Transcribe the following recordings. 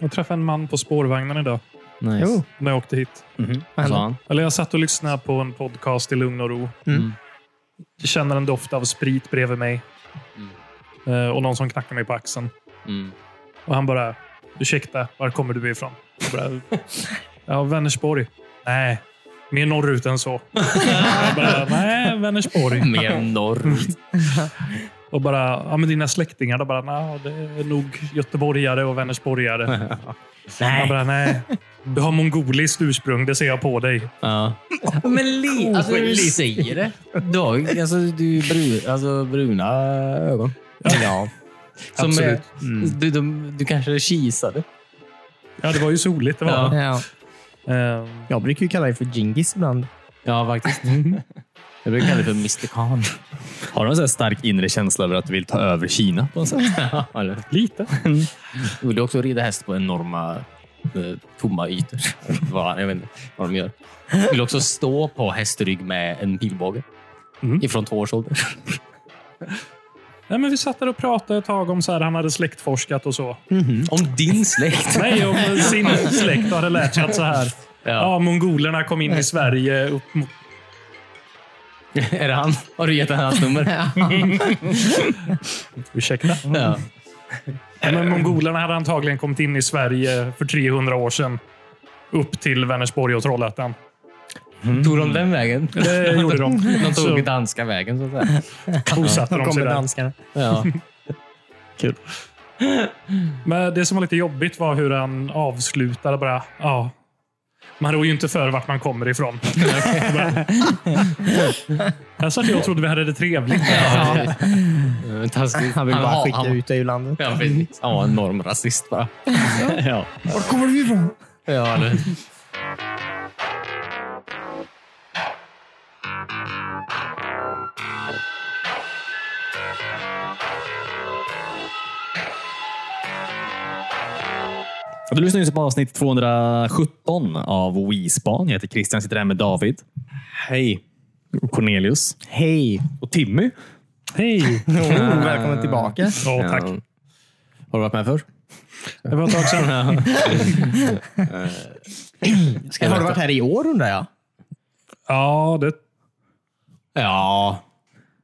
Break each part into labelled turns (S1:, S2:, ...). S1: Jag träffade en man på spårvagnen idag
S2: Nice.
S3: Jo.
S1: när jag åkte hit.
S2: Mhm.
S3: Vad
S2: Vad sa
S3: hände?
S2: han?
S1: Eller jag satt och lyssnade på en podcast i lugn och ro.
S3: Mm.
S1: Jag Känner en doft av sprit bredvid mig. Eh, Och någon som knackar mig på axeln.
S2: Mm.
S1: Och han bara, ursäkta, var kommer du ifrån? Jag bara, ja, Vänersborg. Nej, mer norrut än så. Jag bara, nej, Vänersborg.
S2: Mer norrut.
S1: Och bara, ja men dina släktingar då bara, nej, det är nog göteborgare och vänersborgare. Han
S2: Nej.
S1: bara, nej. Du har mongoliskt ursprung, det ser jag på dig.
S2: Ja.
S3: Men li, alltså, du
S2: Oskyldigt.
S3: säger det. Du har alltså, du är bru, alltså, bruna ögon. Ja. Mm. Som
S1: Absolut.
S3: Är, du, de, du kanske kisade.
S1: Ja, det var ju soligt. Det var.
S2: Ja.
S3: Ja.
S1: Ehm,
S3: Jag brukar ju kalla dig för Gingis ibland.
S2: Ja, faktiskt. Jag brukar kalla det för Mr Khan.
S4: Har du en sån här stark inre känsla över att du vill ta över Kina på något sätt?
S2: Eller,
S1: lite.
S2: Mm. vill du också rida häst på enorma eh, tomma ytor? Vad- Jag vet inte vad de gör. Vill också stå på hästrygg med en pilbåge.
S1: Mm.
S2: Ifrån två års ålder.
S1: Nej, men vi satt där och pratade ett tag om så här, han hade släktforskat och så.
S2: Mm. Om din släkt.
S1: Nej, om sin släkt och hade lärt sig att så här.
S2: Ja.
S1: Ja, mongolerna kom in i Sverige upp mot
S2: Är det han? Har du gett honom hans nummer?
S1: Ursäkta?
S2: Ja.
S1: Ja, Men mongolerna hade antagligen kommit in i Sverige för 300 år sedan. Upp till Vänersborg och Trollhättan.
S2: Tog de den vägen?
S1: Det gjorde de.
S2: De
S1: Så
S2: tog danska vägen, så att säga.
S1: bosatte
S3: Då
S1: de sig
S3: kommer
S1: där.
S3: danskarna.
S2: Ja.
S1: Men det som var lite jobbigt var hur han avslutade bara. Ja, man rår ju inte för vart man kommer ifrån. Bara- Här satt jag och trodde vi hade det trevligt.
S2: Ja. Taskigt.
S3: Han vill bara
S2: har-
S3: skicka
S2: Eh, han-
S3: ut dig ur landet.
S2: Ja, precis. Han var en enorm rasist bara.
S4: ja.
S3: Var kommer du ifrån?
S2: Ja, eller
S4: Du lyssnar just på avsnitt 217 av WeSpan. Jag heter Christian, sitter här med David,
S2: Hej.
S4: Cornelius
S3: Hej!
S4: och Timmy.
S1: Hej!
S3: Oh, välkommen tillbaka.
S1: Ja, tack.
S2: Har du varit med förr?
S1: Det var ett tag sedan.
S2: Ska
S3: Har du varit här i år undrar jag?
S1: Ja, det
S2: Ja,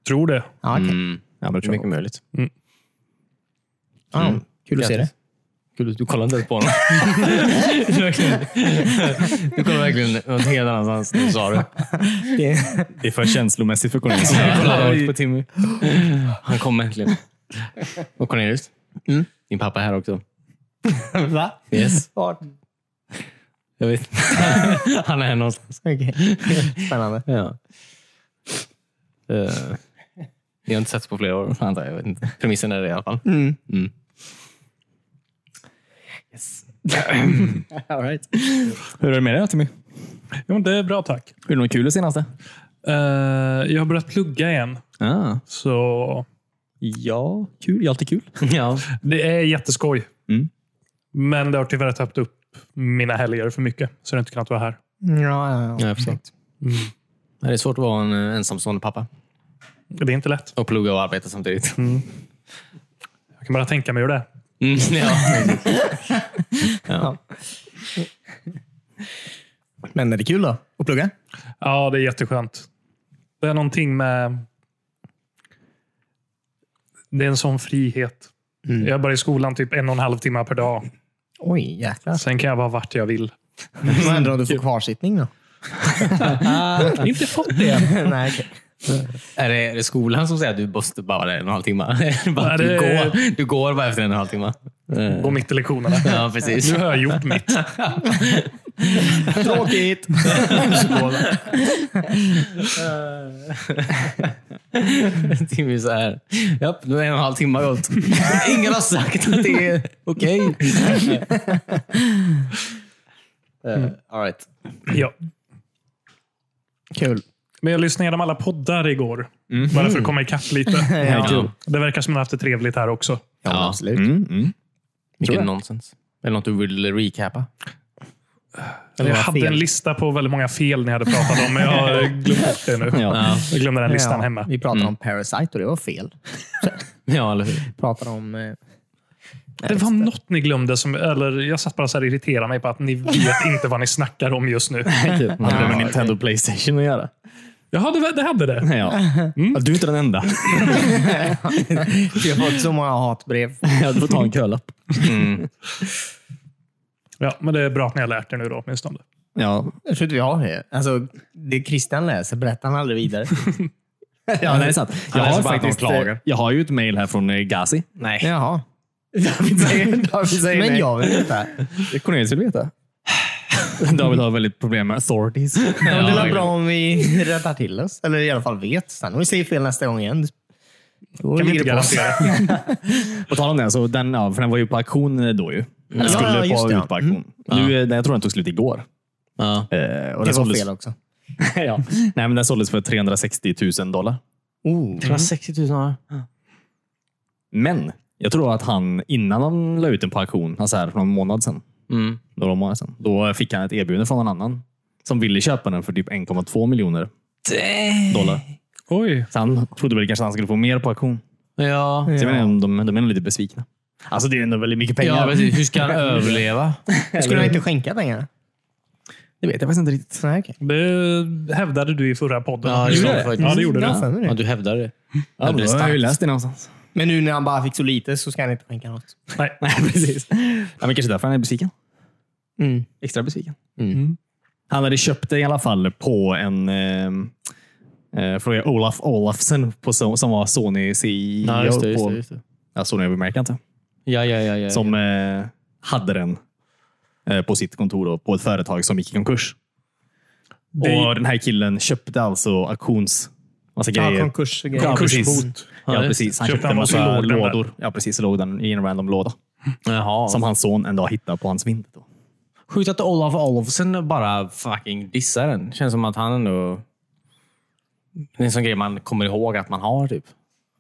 S1: tror det.
S3: Ja, okej.
S4: Ja, men det tror jag.
S2: mycket möjligt.
S3: Ja, Kul att se det.
S2: Kul, du kollar inte ens på honom. du, verkligen- du kollar verkligen åt helt annanstans. Nu sa du.
S3: det.
S4: Det är för känslomässigt för Cornelius.
S2: Kolla på Timmy. Han kom äntligen. Och Cornelius,
S3: Mm.
S2: din pappa är här också.
S3: Va?
S2: Yes.
S3: Vart?
S2: Jag vet. Han är här någonstans.
S3: Okej. Spännande.
S2: Ja. Eh, Ni har inte setts på flera år, antar jag. jag vet inte. Premissen är det i alla fall.
S3: Mm.
S2: Mm.
S3: All right.
S4: Hur är det med dig Timmy?
S1: Jo, det är bra, tack.
S4: Hur är det något kul det senaste?
S1: Eh, Jag har börjat plugga igen.
S4: Ah.
S1: Så
S4: Ja, kul. Det är alltid kul.
S2: Ja.
S1: Det är jätteskoj.
S4: Mm.
S1: Men det har tyvärr tappat upp mina helger för mycket, så jag har inte kunnat vara här.
S3: Ja, ja, ja.
S2: jag förstår. Mm. Det är svårt att vara en eh, ensamstående pappa
S1: Det är inte lätt.
S2: och plugga och arbeta samtidigt.
S1: Jag kan bara tänka mig hur det är.
S2: Mm, ja.
S3: Men är det kul då? Att plugga?
S1: Ja, det är jätteskönt. Det är någonting med... Det är en sån frihet. Jag är bara i skolan typ en och en halv timme per dag.
S3: Oj, jäklar.
S1: Sen kan jag vara vart jag vill.
S3: Vad händer om du får kvarsittning då?
S1: inte fått det än.
S3: Nej, okej.
S2: Ah. är, det, är det skolan som säger att du måste bara vara där en och en halv timme? bara,
S1: Nej,
S2: du,
S1: det-
S2: går, du går bara efter en och en halv timme. Eh,
S1: Gå mitt i lektionerna.
S2: Ja, precis.
S1: Nu har jag gjort mitt.
S3: Tråkigt!
S2: Timmy är så här. Japp, nu är en och en halv timme gått. Ingen har sagt att det är okej. Eh, all right.
S1: Ja.
S3: Kul.
S1: Men jag lyssnade igenom alla poddar igår. Bara för att komma ikapp lite.
S3: Ja,
S2: kul.
S1: Det verkar som att man har haft det trevligt här också.
S3: Ja,
S2: Ja.
S3: absolut.
S4: Mm, mm.
S2: Mycket
S3: jag.
S2: nonsens. Är det något du vill recapa?
S1: Jag
S3: Några
S1: hade
S3: fel.
S1: en lista på väldigt många fel ni hade pratat om, men jag har glömt bort det nu.
S4: Ja.
S1: Jag glömde den listan
S3: Ja,
S1: hemma.
S3: Mm. Vi pratade om Parasite och det var fel.
S2: Ja, eller hur?
S3: Vi pratade om eh,
S1: Det var något ni glömde, som, eller jag satt bara så här och irriterade mig på att ni vet inte vad ni snackar om just nu.
S2: Typ. Det hade med
S3: okej.
S2: Nintendo och Playstation att göra.
S1: Jaha, det, var- det hade det.
S2: Ja. Du är inte den enda.
S3: Jag har fått så många hatbrev.
S2: Ja, Du får ta en kölapp.
S1: Ja, men det är bra att ni har lärt er nu då åtminstone.
S2: Ja.
S3: Jag tror inte vi har det. Alltså, det Christian läser berättar han aldrig vidare.
S2: ja, det är sant. Jag
S5: läser
S2: har,
S5: bara att någon
S2: faktiskt,
S5: klagar.
S2: eh, jag har ju ett mejl här från eh, Gazi.
S5: Nej.
S3: Jaha. Men jag vill inte.
S2: Det Cornelius vill veta. David har väldigt problem med authorities.
S3: Men det
S5: Ja,
S3: är
S5: det-
S3: bra om vi rättar till oss. Eller i alla fall vet. Sen om vi säger fel nästa gång igen. Då
S1: Kan vi
S3: ligger
S1: inte
S3: det på oss.
S1: garantera.
S2: På tal om den, så den, ja, för den var ju på auktion eh, då ju. Den
S3: Ja,
S2: skulle
S3: Mm. ja, just
S2: på,
S3: det, ja.
S2: ut på auktion. Nu, eh, den- jag tror den tog slut igår.
S5: Ja.
S2: Eh, och
S3: Det
S2: den
S3: var
S2: såldes,
S3: fel också.
S2: ja. Nej, men den såldes för 360 000 dollar.
S3: Oh.
S5: 360 000 dollar.
S2: Men jag tror att han, innan han la ut den på auktion, alltså här för någon månad sedan,
S5: Mm.
S2: några månader sedan, då fick han ett erbjudande från en annan som ville köpa den för typ 1,2 miljoner dollar.
S1: Oj.
S2: Så han trodde väl kanske att han skulle få mer på auktion.
S5: Ja.
S2: Så jag menar, de, de är nog lite besvikna. Alltså det är ändå väldigt mycket pengar.
S5: Ja, precis. Hur ska han överleva?
S3: Skulle han inte skänka pengarna?
S2: det vet jag faktiskt inte riktigt.
S3: Nej, okej.
S1: Det hävdade du i förra podden.
S5: Ja, det
S2: gjorde
S1: det.
S5: det.
S1: Ja, det gjorde
S3: Jag har
S1: du.
S3: för mig det.
S5: Ja, du hävdar det.
S2: Ja, då
S5: det är
S2: har jag ju
S5: starkt.
S2: läst det någonstans.
S3: Men nu när han bara fick så lite så ska han inte skänka något.
S1: Nej.
S2: Nej, precis. Ja, men kanske därför han är besviken.
S3: Mm.
S2: Extra besviken.
S3: Mm.
S2: Han hade köpt det i alla fall på en... Eh, eh, fråga Olaf Olafsen på, so- som var Sony CEO
S5: Ja, just det, just
S2: på
S5: det, just det.
S2: ja, Sony-övermärkan. tror jag.
S5: Ja, ja, ja. ja.
S2: som eh, hade den eh, på sitt kontor då, på ett företag som gick i konkurs.
S1: Det-
S2: Och Den här killen köpte alltså auktions... Massa
S3: Ja,
S2: grejer.
S3: konkurs och
S2: Ja,
S3: grejer.
S2: precis.
S1: Konkursbot.
S2: Ja,
S5: Ja, just
S2: precis. Han
S1: Köpte
S2: köpte
S1: han
S2: en
S1: och så
S2: massa
S1: låg den där.
S2: lådor. Ja, precis. Så låg den i en random låda.
S5: Jaha.
S2: Som hans son en dag hittade på hans vind. Då.
S5: Sjukt att Olaf Olofsen bara fucking dissar den. Känns som att han ändå... Det är en sån grej man kommer ihåg att man har. typ.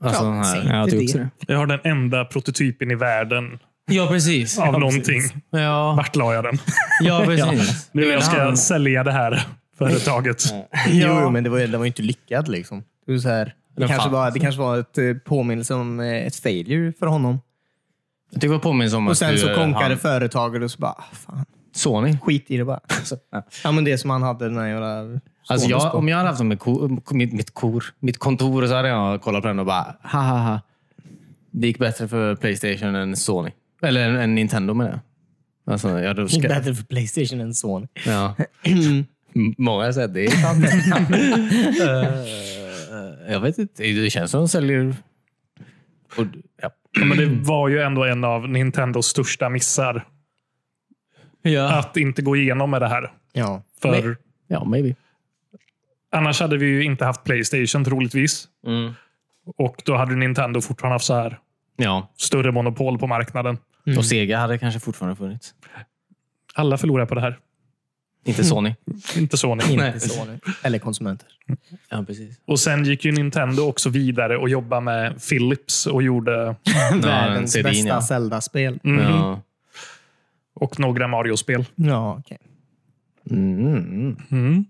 S5: Alltså,
S3: Ja,
S5: den
S3: säg
S5: här.
S3: inte
S2: Ja, jag tror
S3: det.
S2: också det.
S1: Jag har den enda prototypen i världen
S5: ja precis.
S1: av någonting.
S5: Ja,
S1: Vart la jag den?
S5: ja precis.
S1: Nu när jag ska
S5: Han-
S1: sälja det här företaget.
S3: Jo, jo, men det var, den var ju inte lyckad. Liksom. Det, var så här, det,
S5: Men
S3: kanske
S5: fan.
S3: var, det kanske var ett eh, påminnelse om eh, ett failure för honom.
S5: Jag tycker det påminns om
S3: Och
S5: att
S3: sen så
S5: eh,
S3: konkade
S5: han-
S3: företaget och så bara, ah, fan,
S5: Sony.
S3: skit i det bara. Så, ja, men det som han hade den här jävla...
S5: Alltså jag,
S3: stående
S5: om jag hade haft dem med ko, mitt, mitt, kor, mitt kontor så hade jag kollat på den och bara ha ha ha. Det gick bättre för Playstation än Sony. Eller än, än Nintendo menar jag. Alltså, jag hade
S3: på.
S5: ska,
S3: Bättre för Playstation än Sony.
S5: ja. M- Många säger att det är sant. Eh, jag vet inte. Det känns som de säljer... Och, ja.
S1: Ja, Men det var ju ändå en av Nintendos största missar.
S5: Ja.
S1: Att inte gå igenom med det här.
S3: Ja.
S1: För
S5: Nej. ja, maybe.
S1: Annars hade vi ju inte haft Playstation troligtvis.
S5: Mm.
S1: Och då hade Nintendo fortfarande haft så här
S5: Ja.
S1: större monopol på marknaden.
S5: Och Sega hade kanske fortfarande funnits.
S1: Alla förlorar på det här.
S5: Inte Sony.
S1: Inte Sony.
S5: Nej.
S3: Inte Sony. Eller konsumenter.
S5: Ja, precis.
S1: Och sen gick ju Nintendo också vidare och jobbade med Philips och gjorde
S3: Världens
S5: CD,
S3: bästa
S5: ja.
S3: Zelda-spel.
S1: mm,
S5: Ja.
S1: och några Mario-spel.
S3: Ja, okej.
S5: Mm.
S1: Mm.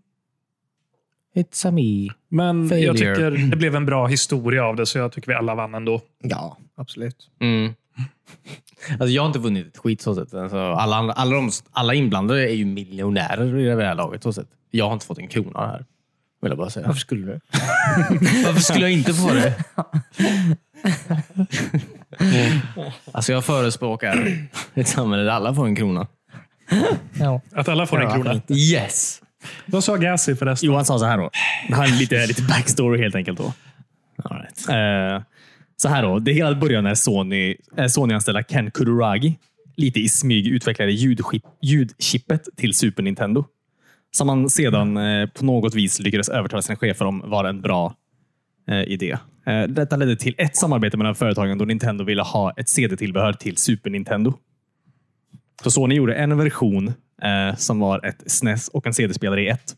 S5: It's a me.
S1: Men
S5: Failure.
S1: jag tycker det blev en bra historia av det, så jag tycker vi alla vann ändå.
S3: Ja, absolut.
S5: Mm. Alltså jag har inte vunnit ett skit så sett. Alltså alla, andra- alla, de, alla inblandade är ju miljonärer i det här laget. Så sett. Jag har inte fått en krona här. Vill jag bara säga.
S3: Varför skulle du?
S5: Varför skulle jag inte få det? alltså jag förespråkar ett samhälle där alla får en krona.
S3: Ja.
S1: Att alla får en
S3: Ja,
S1: krona.
S5: Yes!
S1: Vad sa Gazi förresten?
S2: Johan sa så här då. Han hade lite, lite backstory helt enkelt. då.
S5: All right.
S2: Eh, så här då. Det hela började när Sony, eh, Sony-anställda Ken Kutaragi lite i smyg utvecklade ljudchip, ljudchippet till Super Nintendo. Som han sedan eh, på något vis lyckades övertala sina chefer om var en bra eh, idé. Eh, detta ledde till ett samarbete mellan företagen då Nintendo ville ha ett CD-tillbehör till Super Nintendo. Så Sony gjorde en version eh, som var ett SNES och en CD-spelare i ett.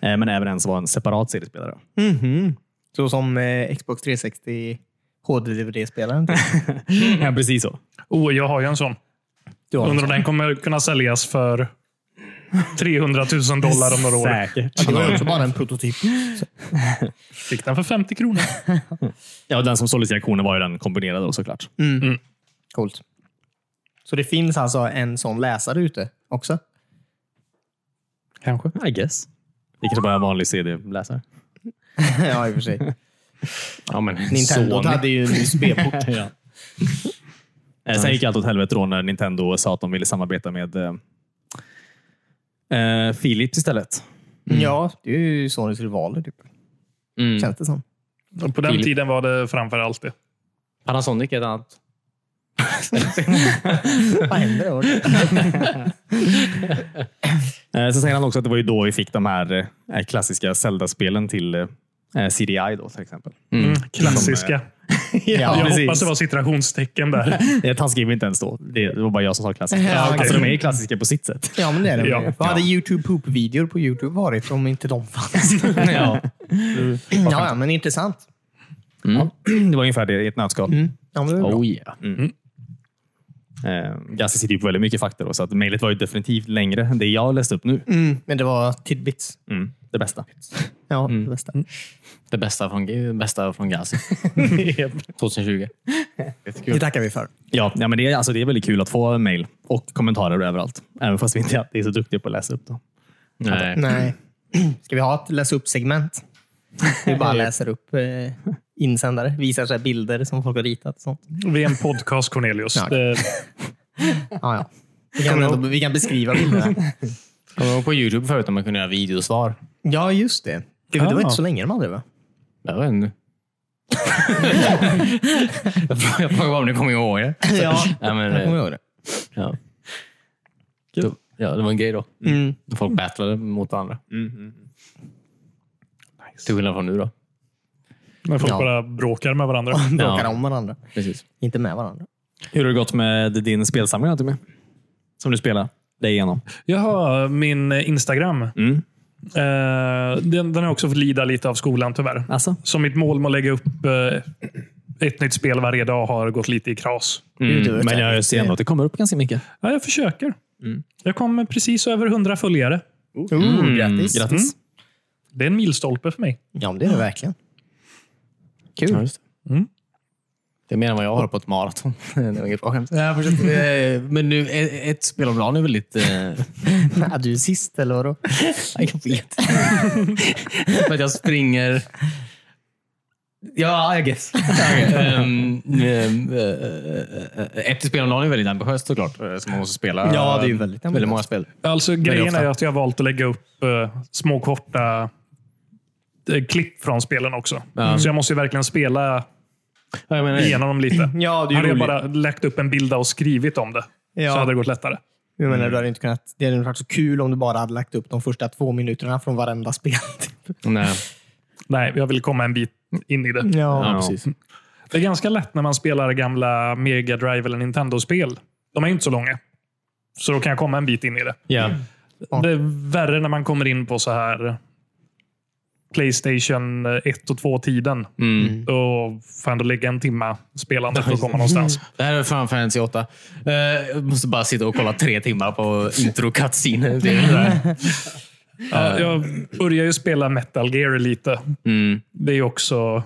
S2: Eh, men även en som var en separat CD-spelare.
S1: Mm.
S3: Mhm. Så som eh, Xbox 360 HD-DVD-spelaren.
S2: Ja, precis så.
S1: Oh, jag har ju en sån. Undrar om den kommer kunna säljas för 300 000 dollar om några år.
S2: Säkert.
S3: Det var också bara en prototyp.
S1: Fick den för 50 kronor.
S2: Ja, den som såldes i auktionen var ju den kombinerade då, såklart.
S3: Coolt. Så det finns alltså en sån läsare ute också.
S1: Kanske.
S2: I guess. Det kanske bara är en vanlig CD-läsare.
S3: ja, i och för sig.
S5: Ja, men,
S3: Nintendo
S5: Sony.
S3: hade ju en USB-port.
S2: ja. Eh, Sen gick allt åt helvete då när Nintendo sa att de ville samarbeta med eh, eh, Philips istället.
S3: Mm. Ja, det är ju Sonys rivaler typ.
S5: Mm.
S3: Känns det som.
S1: Och på den
S5: Philip.
S1: tiden var det framför allt det.
S5: Panasonic är ett annat.
S3: Vad händer då?
S2: Eh, Sen säger han också att det var ju då vi fick de här eh, klassiska Zelda-spelen till eh, CDI då till exempel.
S1: Mm. Klassiska.
S3: Mm. eh, Ja,
S1: jag hoppas
S2: precis.
S1: det var citationstecken där.
S2: Eh, Han skrev inte ens då. Det det var bara jag som sa klassiska.
S3: Ja, okej.
S2: Alltså de är ju klassiska på sitt sätt.
S3: Ja, men det är det.
S1: Ja.
S3: Vad hade YouTube Poop-videor på YouTube varit om inte de fanns?
S2: ja.
S3: ja, ja, men intressant.
S1: Mm.
S2: Det var ungefär det i ett nötskal.
S3: Ja, men det är bra.
S5: Oh yeah.
S2: Eh,
S5: Ehm.
S2: Gassi sitter ju på väldigt mycket fakta då, så att mejlet var ju definitivt längre än det jag läste upp nu.
S3: Mm, men det var tidbits.
S2: Mm. Det bästa.
S3: Ja, det bästa.
S5: Det bästa från, det bästa från Gazi. 2020.
S3: Det tackar vi för.
S2: Ja, ja men det är, alltså, det är väldigt kul att få mejl och kommentarer överallt. Även fast vi inte alltid är så duktiga på att läsa upp dem.
S5: Nej.
S3: Nej. Ska vi ha ett läs upp-segment? Vi bara läser upp eh, insändare. Visar så här bilder som folk har ritat. och Sånt.
S1: Vi är en podcast, Cornelius.
S3: Ja.
S1: Det,
S3: Ja, ja. Vi, kan ändå, vi kan beskriva bilderna.
S5: Kommer du ihåg på Youtube förut när man kunde göra videosvar?
S3: Ja, just det. Gud, Det var
S1: Ja.
S5: Ah.
S3: inte så länge de hade det, va?
S5: Jag vet inte. jag frågar- jag frågar bara om ni kommer ihåg det.
S3: Ja,
S5: Nej, men,
S3: jag
S5: eh,
S3: kommer ihåg det.
S5: ja. Då, ja, det var en grej då.
S3: Mm.
S5: Folk battlade mot varandra. mm. Till skillnad från nu då.
S1: när folk
S3: Ja.
S1: bara bråkar med varandra.
S3: Bråkar
S5: Ja.
S3: om varandra.
S5: Precis.
S3: Inte med varandra.
S2: Hur har det gått med din spelsamling Antti, med? Som du spelar dig igenom?
S1: Jaha, min Instagram.
S2: Mm.
S1: Eh, den, den har också fått lida lite av skolan tyvärr.
S2: Alltså?
S1: Så mitt mål med att lägga upp eh, ett nytt spel varje dag har gått lite i kras.
S5: Mm,
S3: Gud, Mm, det var
S2: Men jag
S3: jävligt,
S2: ser ändå att det kommer upp ganska mycket.
S1: Ja, jag försöker.
S3: Mm.
S1: Jag kom precis över 100 följare.
S3: Oh,
S5: Mm,
S3: grattis.
S2: Grattis.
S1: Det är en milstolpe för mig.
S3: Ja, men det är det verkligen. Kul.
S5: Ja, just det.
S1: Mm.
S5: Det är mer än vad jag har på ett maraton. det var inget bra skämt. Nej, jag försökte, eh, men nu, ett, ett spel om dagen är väl lite... eh,
S3: Är du är sist, eller vadå?
S5: Jag vet eh, För att jag springer... Ja, I guess. Ehm, ehm, eh, eh, eh, ett spel om dagen är väldigt ambitiöst såklart. eh, Som man måste spela.
S3: Ja, det är ju väldigt
S5: Väldigt
S3: ambitiöst.
S5: många spel.
S1: Alltså, grejen
S5: ofta.
S1: är att jag har valt att lägga upp eh, små korta eh, klipp från spelen också. Så jag måste ju verkligen spela
S5: Ja, jag menar,
S1: igenom dem lite.
S3: Ja, det är ju
S1: hade jag
S3: roligt.
S1: bara lagt upp en bild och skrivit om det
S3: Ja.
S1: så hade det gått lättare.
S3: Jag menar, du hade inte kunnat, det hade inte varit så kul om du bara hade lagt upp de första två minuterna från varenda spel. Typ.
S5: nej.
S1: Nej, jag vill komma en bit in i det.
S3: Ja.
S5: precis.
S1: Det är ganska lätt när man spelar gamla Mega Drive eller Nintendo-spel. De är ju inte så långa. Så då kan jag komma en bit in i det.
S5: Ja.
S1: Det är värre när man kommer in på så här Playstation 1 och 2-tiden.
S5: Mm.
S1: Och fan, då lägga en timma spelande för att komma någonstans.
S5: Det här är Final Fantasy 8. Eh, jag måste bara sitta och kolla tre timmar på intro cutscene. Det är det där.
S1: Ja, jag börjar ju spela Metal Gear lite.
S5: Mm.
S1: Det är ju också...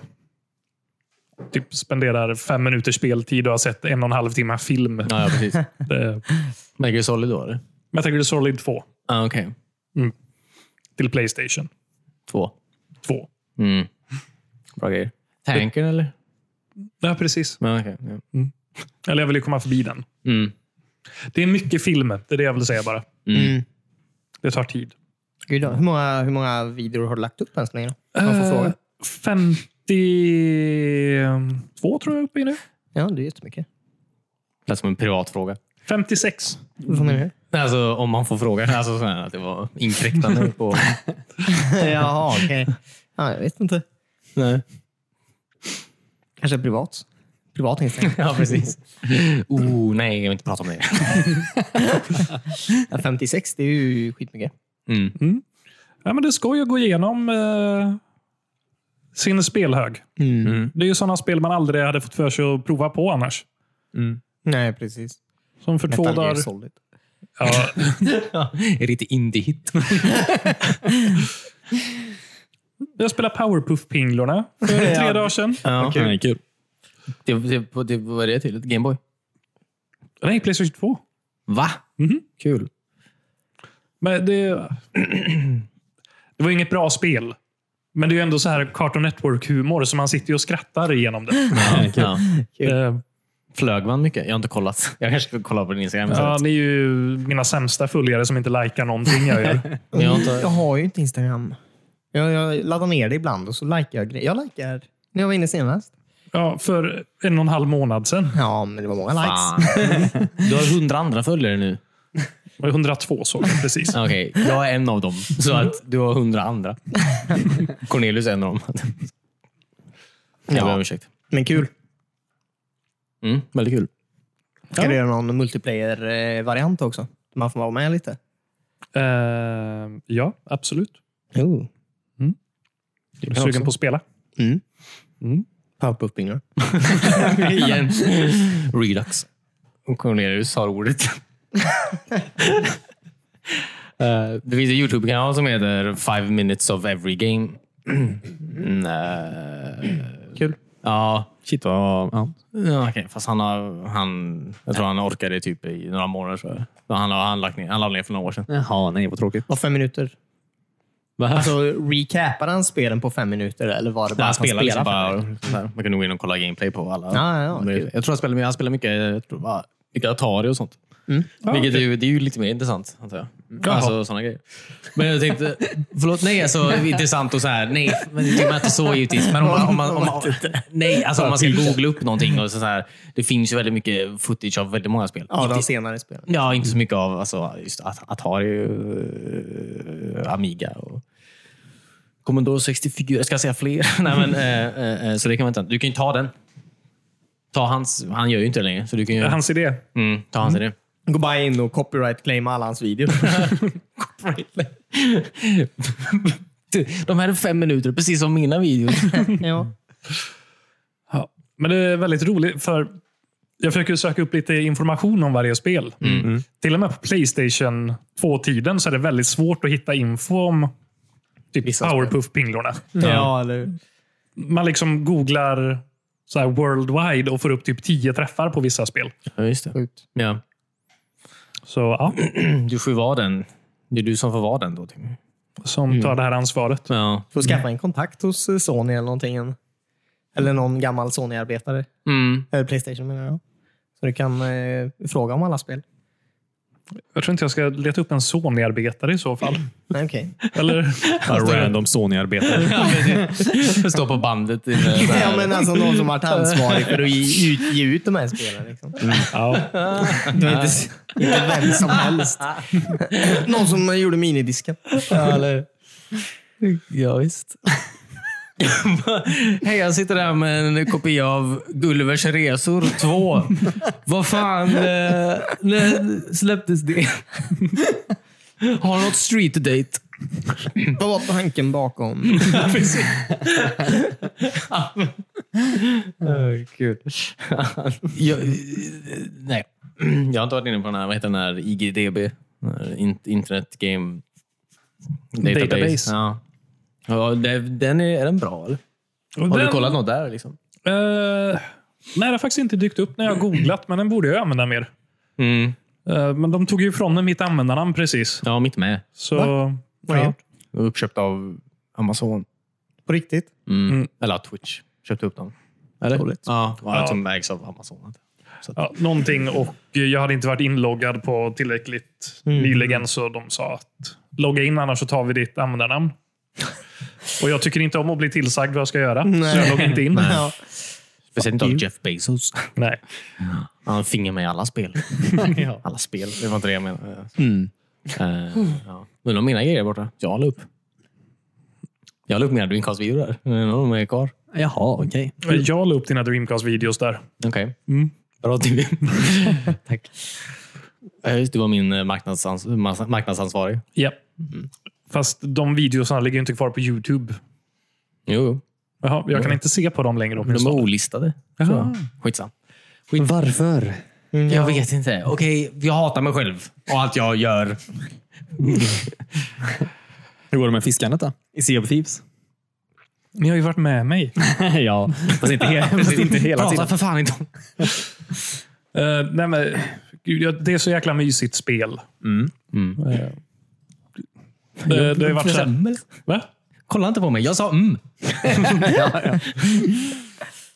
S1: Typ spenderar fem minuters speltid och har sett en och en halv timme film.
S5: Ja, ja, precis.
S1: Det-
S5: Metal Gear Solid då, eller?
S1: Metal Gear Solid 2
S5: Ah, Okej.
S1: till Playstation
S5: Två.
S1: 2.
S5: Mm. Bra grejer. Tanken, eller?
S1: Ja, precis.
S5: Ja, okej. Ja.
S1: Eller jag vill ju komma förbi den.
S5: Mm.
S1: Det är mycket film. Det är det jag vill säga bara.
S3: Mm.
S1: Det tar tid.
S3: Gud, då. hur, många, hur många videor har du lagt upp än så länge? då? Om Man får
S1: Eh,
S3: fråga.
S1: 52 tror jag är uppe i nu.
S3: Ja, det är jättemycket.
S5: Lät som en privat fråga.
S1: 56.
S3: Vad menar du?
S5: Alltså, om man får fråga. Alltså, så här, att det var inkräktande på...
S3: Jaha, okej. Ja, jag vet inte.
S5: Nej.
S3: Kanske privat. Privat Instagram.
S5: Ja, precis. Oh, nej, jag vill inte prata om det.
S3: Ja, 56, det är ju skitmycket.
S5: Mm.
S1: Ja, men det är skoj att gå igenom eh, sin spelhög.
S3: Mm.
S1: Det är ju sådana spel man aldrig hade fått för sig att prova på annars.
S3: Nej, precis.
S1: Som för två
S3: Metal Gear
S1: dagar...
S3: Solid.
S1: Ja,
S5: Är det inte indie-hit?
S1: jag spelade Powerpuff-pinglorna för tre dagar sedan.
S5: Ja.
S2: Ja, kul.
S5: Det, det, det, vad är det till? Gameboy?
S1: Nej, Playstation 2.
S5: Va?
S1: Mhm.
S5: Kul.
S1: Men det, det var inget bra spel. Men det är ju ändå så här Cartoon Network-humor, så man sitter ju och skrattar igenom
S3: Mm.
S1: det.
S5: Ja.
S1: Eh,
S5: Flög man mycket? Jag har inte kollat. Jag kanske ska kolla på din Instagram
S1: ja,
S5: istället.
S1: ni är ju mina sämsta följare som inte likar någonting jag gör.
S5: Men jag har inte-
S3: Mm. Jag har ju inte Instagram. Jag, jag laddar ner det ibland och så likar jag grejer. Jag likar när jag var inne senast.
S1: Ja, för en och en halv månad sedan.
S3: Ja, men det var många likes.
S5: Fan. Du har hundra andra följare nu.
S1: Det var 102 såg jag precis.
S5: Okej, jag är en av dem. Så att du har hundra andra. Cornelius är en av dem. Jag ber om ursäkt.
S3: Men kul.
S5: Mm, väldigt kul.
S3: Ska du göra någon multiplayer-variant också? Man får vara med lite.
S1: Eh, ja, absolut.
S3: Jo.
S1: Är du sugen på att spela?
S3: Mm.
S1: Mm.
S3: Powerpuff-bingo.
S5: Igen. Redux. Och Cornelius har ordet. Eh, det finns en YouTube-kanal som heter Five minutes of every game. Mm, eh,
S3: Kul.
S5: ja,
S2: Shit vad... Ja.
S5: Ja, okej. Fast han har, han, jag tror han orkade typ i några månader. Tror jag. Men Han, har, han, lagt ner, han lade ner för några år sedan.
S2: Jaha, nej vad tråkigt.
S3: Var fem minuter. Alltså, recapade han spelen på fem minuter eller var det bara
S5: han
S3: att han
S5: spelar liksom
S3: spelade
S5: bara, så här. Man kan nog gå in och kolla gameplay på alla.
S3: Mm. Ja, ja, ja, kul.
S5: jag tror han spelar, han spelar mycket, jag tror, bara, mycket Atari och sånt.
S3: Mm.
S5: Vilket är, ju, det är ju lite mer intressant, antar jag. Alltså sådana grejer. Men jag tänkte, förlåt, nej alltså intressant och så här, nej, men det är inte så givetvis. Men om man, om man, om man, nej, alltså om man ska googla upp någonting och så så här, det finns ju väldigt mycket footage av väldigt många spel.
S3: Ja, de senare spelen.
S5: Ja, inte så mycket av alltså, just At- Atari, eh, Amiga och Commodore 64. Jag ska säga fler. Nej, men, eh, eh, eh, så det kan man inte. Du kan ju ta den. Ta hans, han gör ju inte det längre, så du kan ju
S1: Hans idé.
S5: mm, ta hans idé.
S3: Gå bara in och copyright-claima alla hans videor.
S5: Mm. De här är fem minuter, precis som mina videor.
S3: ja.
S1: Ja. Men det är väldigt roligt, för jag försöker söka upp lite information om varje spel. Till och med på Playstation 2-tiden så är det väldigt svårt att hitta info om typ Powerpuff-pinglorna.
S3: ja, eller
S1: Man liksom googlar så här worldwide och får upp typ 10 träffar på vissa spel.
S5: Ja, just det.
S3: Sjukt.
S5: Ja.
S1: Så ja,
S5: Mm, Du får ju vara den. Det är du som får vara den då. Tim.
S1: som tar det här ansvaret.
S5: Ja.
S3: Får skaffa en kontakt hos eh, Sony eller någonting. Eller någon gammal Sony-arbetare.
S5: Mm.
S3: Eller Playstation menar jag. Så du kan eh, fråga om alla spel.
S1: Jag tror inte jag ska leta upp en Sony-arbetare i så fall.
S3: Nej, okej.
S1: Eller
S2: Random Sony-arbetare.
S5: Stå på bandet. i den-
S3: ja, men alltså någon som varit ansvarig för att ge ut, ge ut de här spelen. Liksom.
S1: ja,
S3: Det var inte, inte vem som helst. någon som eh, gjorde minidisken.
S5: Ja, visst. Hej, jag sitter här med en kopia av Gullivers resor 2. Vad fan, eh, när släpptes det? Har något street date?
S3: Vad var tanken bakom?
S5: Kul. jag, eh, nej, jag har inte varit inne på den här, vad heter den här IGDB? Den här in- Internet Game Database.
S1: Database.
S5: Ja. Ja, det- den är, är den bra eller? Har du kollat något där? Liksom?
S1: Eh, nej, det har faktiskt inte dykt upp när jag har googlat, men den borde jag använda mer. Eh, men de tog ju ifrån mig mitt användarnamn precis.
S5: Ja, mitt med.
S1: Så,
S3: Vad har
S1: ja.
S3: jag
S5: Uppköpt av Amazon.
S3: På riktigt?
S5: Mm. Eller Twitch köpte upp dem. Eller? Ja, ja. som ägs av Amazon.
S1: Ja, någonting och jag hade inte varit inloggad på tillräckligt nyligen, så de sa att logga in annars så tar vi ditt användarnamn. Och jag tycker inte om att bli tillsagd vad jag ska göra, så jag loggade inte in. Nej.
S3: Ja.
S5: Speciellt av Jeff Bezos.
S1: Nej.
S5: Han har finger med i alla spel. Alla spel. Det var inte det jag menade. Eh, ja. Undrar om mina grejer är borta. Jag la upp. Jag la upp mina Dreamcast-videor där. Men Någon av dem är kvar.
S6: Jaha, okej.
S1: Jag la upp dina Dreamcast-videos där.
S5: Okej. Mm. Bra Timmy. Tack. Eh, Just, det, du var min eh, marknadsansvar- mas- marknadsansvarig.
S1: Ja. Fast de videosarna ligger ju inte kvar på YouTube.
S5: Jo, jo.
S1: Jaha, jag kan inte se på dem längre.
S5: Mm. De är
S1: åtminstone.
S5: olistade.
S1: Jaha.
S5: Skitsam.
S6: Varför?
S5: Jag vet inte. Okej, jag hatar mig själv och allt jag gör.
S2: Hur går det med fiskandet då? I Sea of Thieves?
S1: Ni har ju varit med mig.
S2: ja, fast inte, he- fast inte hela
S5: Prata
S2: tiden.
S5: för fan inte om
S1: Eh, nej men, Gud, ja, det är så jäkla mysigt spel. Eh, Det, det har varit så här, va?
S5: Kolla inte på mig. Jag sa mm.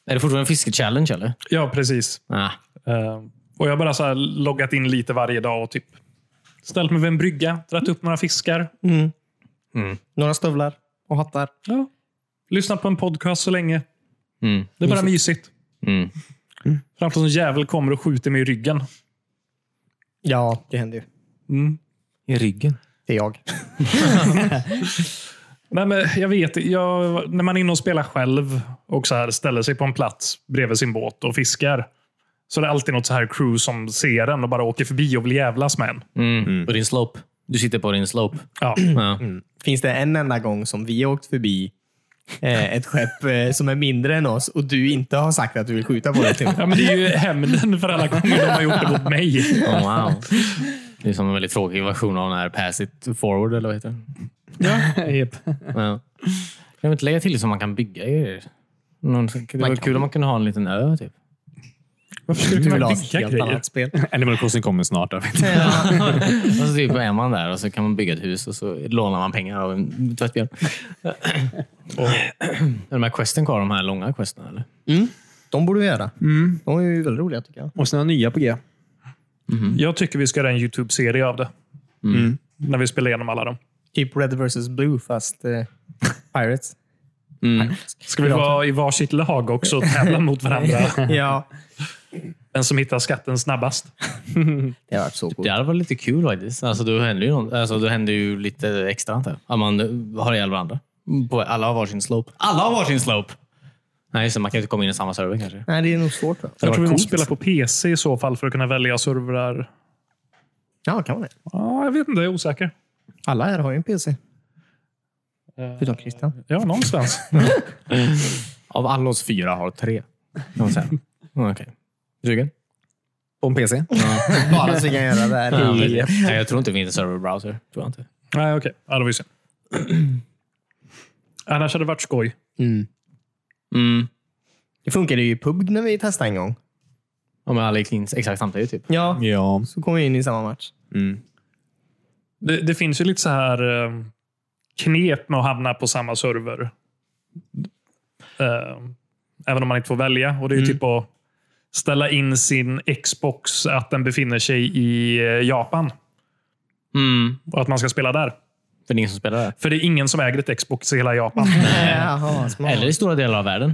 S5: Är det fortfarande fiskechallenge eller?
S1: Ja, precis.
S5: Ah.
S1: Eh, Och jag har bara så här loggat in lite varje dag och typ ställt mig vid en brygga, dragit upp några fiskar.
S3: Några stövlar och hattar.
S1: Ja. Lyssnat på en podcast så länge.
S5: Mm.
S1: Det är bara mysigt.
S5: Mm.
S1: Fram tills en jävel kommer och skjuter mig i ryggen.
S3: Ja, det händer ju.
S1: Mm.
S5: I ryggen.
S3: Det är jag.
S1: Nej, men jag vet jag, När man är inne och spelar själv och så här ställer sig på en plats bredvid sin båt och fiskar. Så är det alltid något så här crew som ser en och bara åker förbi och vill jävlas med en.
S5: Mm. På din slope. Du sitter på din slope.
S1: Ja.
S5: Ja.
S3: Finns det en enda gång som vi har åkt förbi eh, ett skepp eh, som är mindre än oss och du inte har sagt att du vill skjuta på det? Tim?
S1: Ja, men det är ju hämnden för alla gånger de har gjort det mot mig.
S5: Oh, wow. Det är som en väldigt tråkig version av den här pass it forward, eller vad heter den?
S6: Japp.
S5: Ja. Kan vi inte lägga till så man kan bygga grejer? Någon, det vore kul om man kunde ha en liten ö. Typ.
S1: Varför skulle du
S3: vill
S1: kunna
S3: ha
S1: bygga grejer?
S3: spel.
S2: Animal Crossing kommer snart. jag vet.
S5: Och så typ är man där och så kan man bygga ett hus och så lånar man pengar av en tvättbjörn. Och- Är de här questen kvar, de här långa questen? Eller?
S3: De borde vi göra.
S1: Mm.
S3: De är ju väldigt roliga tycker jag.
S6: Och sen har jag nya på G.
S1: Jag tycker vi ska göra en YouTube-serie av det. När vi spelar igenom alla dem.
S3: Typ Red vs Blue fast eh, Pirates.
S1: Ska vi vara i varsitt lag också och tävla mot varandra?
S3: ja,
S1: Den som hittar skatten snabbast.
S3: det har varit så coolt.
S5: Det hade varit lite kul faktiskt. Alltså, då, händer ju någon, alltså, då händer ju lite extra. Antar jag. Att man har ihjäl varandra. På, alla har varsin slope. Alla har varsin slope! Nej, just det, man kan inte komma in i samma server kanske.
S3: Nej, det är nog svårt. Då.
S1: Jag tror vi
S5: coolt.
S1: måste spela på PC i så fall för att kunna välja servrar.
S3: Ja, kan man det?
S1: Ja, jag vet inte, jag är osäker.
S3: Alla här har ju en PC. Förutom Christian.
S1: Ja, någonstans.
S5: Av alla oss fyra har tre. kan man säga. Mm, Okej. Ryggen?
S2: På en PC.
S3: Bara så vi kan göra det här.
S5: Ja,
S3: i-
S5: men- Nej, jag tror inte vi är en serverbrowser. Tror jag inte.
S1: Nej, okej. Ja, det var ju synd. Annars hade det varit skoj.
S5: Mm.
S3: Det funkade ju i PUBG när vi testade en gång.
S5: Om alla gick in exakt samtidigt. Typ.
S3: Ja,
S2: Ja.
S3: så kom vi in i samma match.
S1: Det, det finns ju lite så här eh, knep med att hamna på samma server. Eh, även om man inte får välja. Och Det är ju typ att ställa in sin Xbox att den befinner sig i eh, Japan
S5: Mm.
S1: och att man ska spela där.
S5: För det är ingen som spelar där.
S1: För det är ingen som äger ett Xbox i hela Japan.
S3: Jaha, smart.
S5: Eller i stora delar av världen.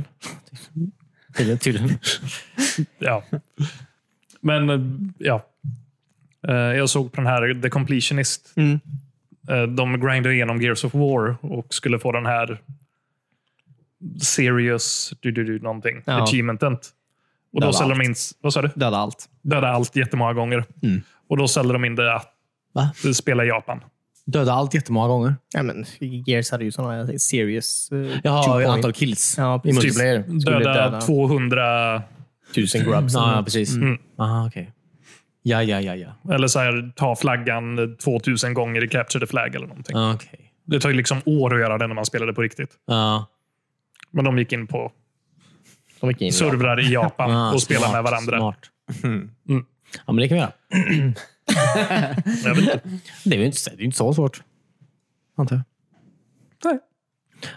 S5: Tydligen. Tydligen.
S1: ja. Men eh, ja. Eh, Jag såg på den här The Completionist.
S3: Mm.
S1: Eh, De grindade igenom Gears of War och skulle få den här Serious du, du, du, någonting,
S3: Ja.
S1: achievementen. Och
S6: Döda
S1: då ställde de
S6: allt.
S1: in, vad sa du?
S6: Döda allt.
S1: Döda allt jättemånga gånger. Och då ställde de in det att
S5: Va?
S1: spela i Japan.
S5: Döda allt jättemånga gånger.
S3: Ja, men Gears hade ju sådana serious... Uh,
S5: Jaha, Typ antal kills.
S3: Ja,
S5: I
S3: precis.
S5: multiplayer.
S1: Döda,
S3: döda.
S1: 200,
S3: Tusen grubs.
S5: Ja, ja, precis. Mm. Aha, okej. Ja, ja, ja. ja.
S1: eller så här, ta flaggan 2000 gånger i Capture the Flag eller någonting.
S5: Ah, Okej.
S1: Det tar ju liksom år att göra det när man spelade på riktigt.
S5: Ja.
S1: Men de gick in på
S3: De gick in.
S1: servrar i Japan
S5: Ah,
S1: och spelade
S5: smart,
S1: med varandra.
S5: Smart. Mm. Ja, men det kan vi göra.
S1: Jag vet inte.
S5: Det är ju inte, det är ju inte så svårt. Antar jag.
S1: Nej.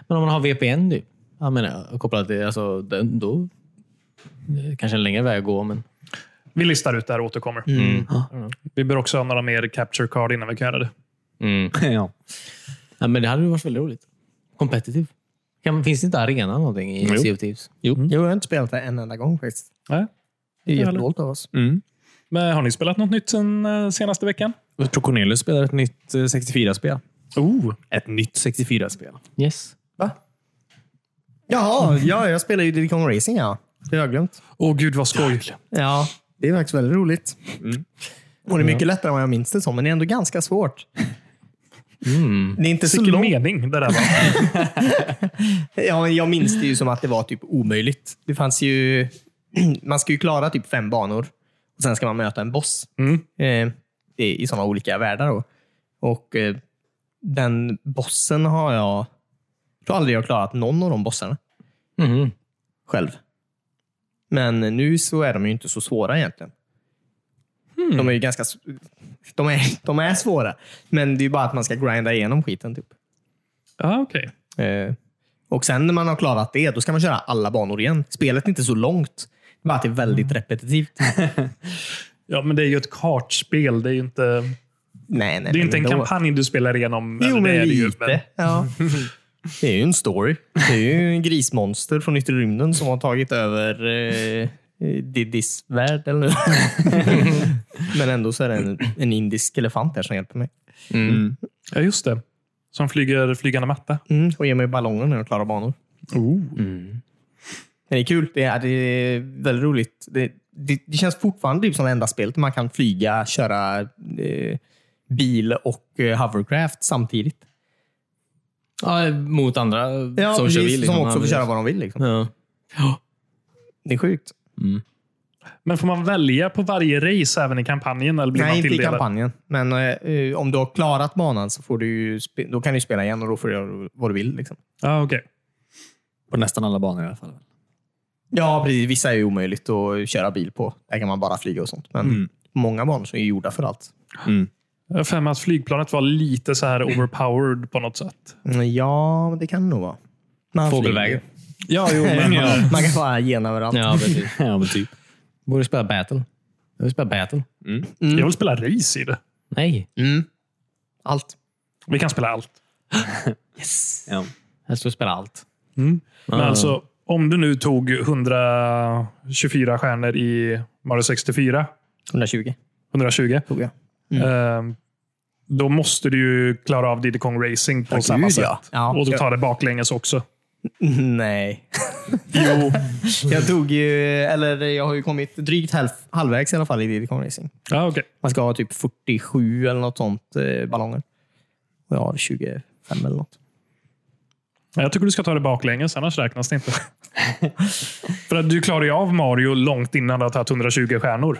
S5: Men om man har VPN, du. Jag menar, kopplat till, alltså, den, då... Det är kanske en längre väg att gå, men...
S1: Vi listar ut det här och återkommer.
S3: Mm.
S1: Mm. Vi bör också ha några mer capture card innan vi kan göra det.
S5: Mm.
S2: ja.
S5: Ja, men det hade ju varit väldigt roligt. Competitive. Kan, finns det inte arena någonting i
S2: Jo.
S5: Sea of Thieves?
S3: Jo, jag har inte spelat det en enda gång faktiskt.
S1: Nej.
S3: Det är
S1: Jag
S3: jättedåligt av oss.
S1: Men har ni spelat något nytt sen eh, senaste veckan?
S2: Jag tror Cornelius spelar ett nytt eh, 64-spel.
S1: Oh.
S2: Ett nytt 64-spel.
S5: Yes.
S3: Jaha, ja, jag spelar ju Didicon Racing ja. Det har jag glömt.
S1: Åh gud vad skoj.
S3: Ja, det är faktiskt väldigt roligt. Och det är mycket lättare än vad jag minns det som, men det är ändå ganska svårt. Det är inte så
S1: Vilken
S3: långt.
S1: mening det där var.
S3: Ja, men jag minns det ju som att det var typ omöjligt. Det fanns ju... Man ska ju klara typ fem banor och sen ska man möta en boss. Eh, det är I sådana olika världar. Då. Och eh, den bossen har jag... Jag tror aldrig jag har klarat någon av de bossarna
S5: Mhm.
S3: själv. Men nu så är de ju inte så svåra egentligen. De är ju ganska... s- De är, de är svåra. Men det är ju bara att man ska grinda igenom skiten. Typ.
S1: Ja, okej.
S3: Eh, Och sen när man har klarat det, då ska man köra alla banor igen. Spelet är inte så långt. Bara att det är
S1: Mm.
S3: väldigt repetitivt.
S1: Ja, men det är ju ett kartspel. Det är ju inte,
S3: Nej, nej,
S1: det är inte en
S3: men då-
S1: kampanj du spelar igenom.
S3: Jo,
S1: eller det
S3: men
S1: är det ju, men-
S3: lite. Ja. Det är ju en story. Det är ju en grismonster från yttre rymden som har tagit över eh, Didis värld. Eller? men ändå så är det en, en indisk elefant där som hjälper mig.
S1: Ja, just det. Som flyger flygande matta.
S3: Mm, och ger mig ballonger när jag klarar banor. Men det är kul. Det är, det är väldigt roligt. Det, det, det känns fortfarande typ som det enda spelet där man kan flyga, köra eh, bil och eh, hovercraft samtidigt.
S5: Ja, mot andra
S3: Ja,
S5: som
S3: precis,
S5: kör bil.
S3: som
S5: liksom. Ja,
S3: också får
S5: precis.
S3: köra vad de vill. Liksom.
S5: Ja.
S3: Det är sjukt.
S1: Men får man välja på varje race även i kampanjen? Eller blir
S3: Nej,
S1: man
S3: inte i
S1: tilldelad?
S3: kampanjen. Men eh, eh, om du har klarat banan så får du ju spe- då kan du spela igen och då får du göra vad du vill. Liksom.
S1: Ja, okej.
S2: På nästan alla banor i alla fall.
S3: Ja, precis. Vissa är ju omöjligt att köra bil på. Där kan man bara flyga och sånt. Men många banor som är gjorda för allt.
S2: Mm.
S1: Jag har för mig att flygplanet var lite så här overpowered på något sätt.
S3: Mm, Ja, men det kan det nog vara. Man
S5: Fågelvägen.
S1: Ja, jo, men,
S2: typ.
S3: flyger. Man kan bara gena överallt.
S5: Ja, precis.
S2: Ja, men typ.
S5: Borde spela battle. Jag vill spela battle.
S3: Mm.
S1: Jag vill spela race i det.
S5: Nej.
S3: Allt.
S1: Vi kan spela allt.
S2: Ja.
S5: Jag ska spela allt.
S3: Ah.
S1: Men alltså, om du nu tog 124 stjärnor i Mario 64,
S3: 120
S1: 120,
S3: tog jag.
S1: eh, då måste du ju klara av Diddy Kong Racing på
S3: Ja,
S1: samma
S3: gud,
S1: sätt.
S3: ja. Ja.
S1: Och du tar det baklänges också.
S3: Nej. jo. jag tog ju, eller jag har ju kommit drygt halv, halvvägs i alla fall i Diddy Kong Racing.
S1: Ja, okej.
S3: Man ska ha typ 47 eller något sånt eh, ballonger. Och jag har 25 eller något.
S1: Jag tycker du ska ta det baklänges, annars räknas det inte. För att du klarar ju av Mario långt innan du har tagit 120 stjärnor.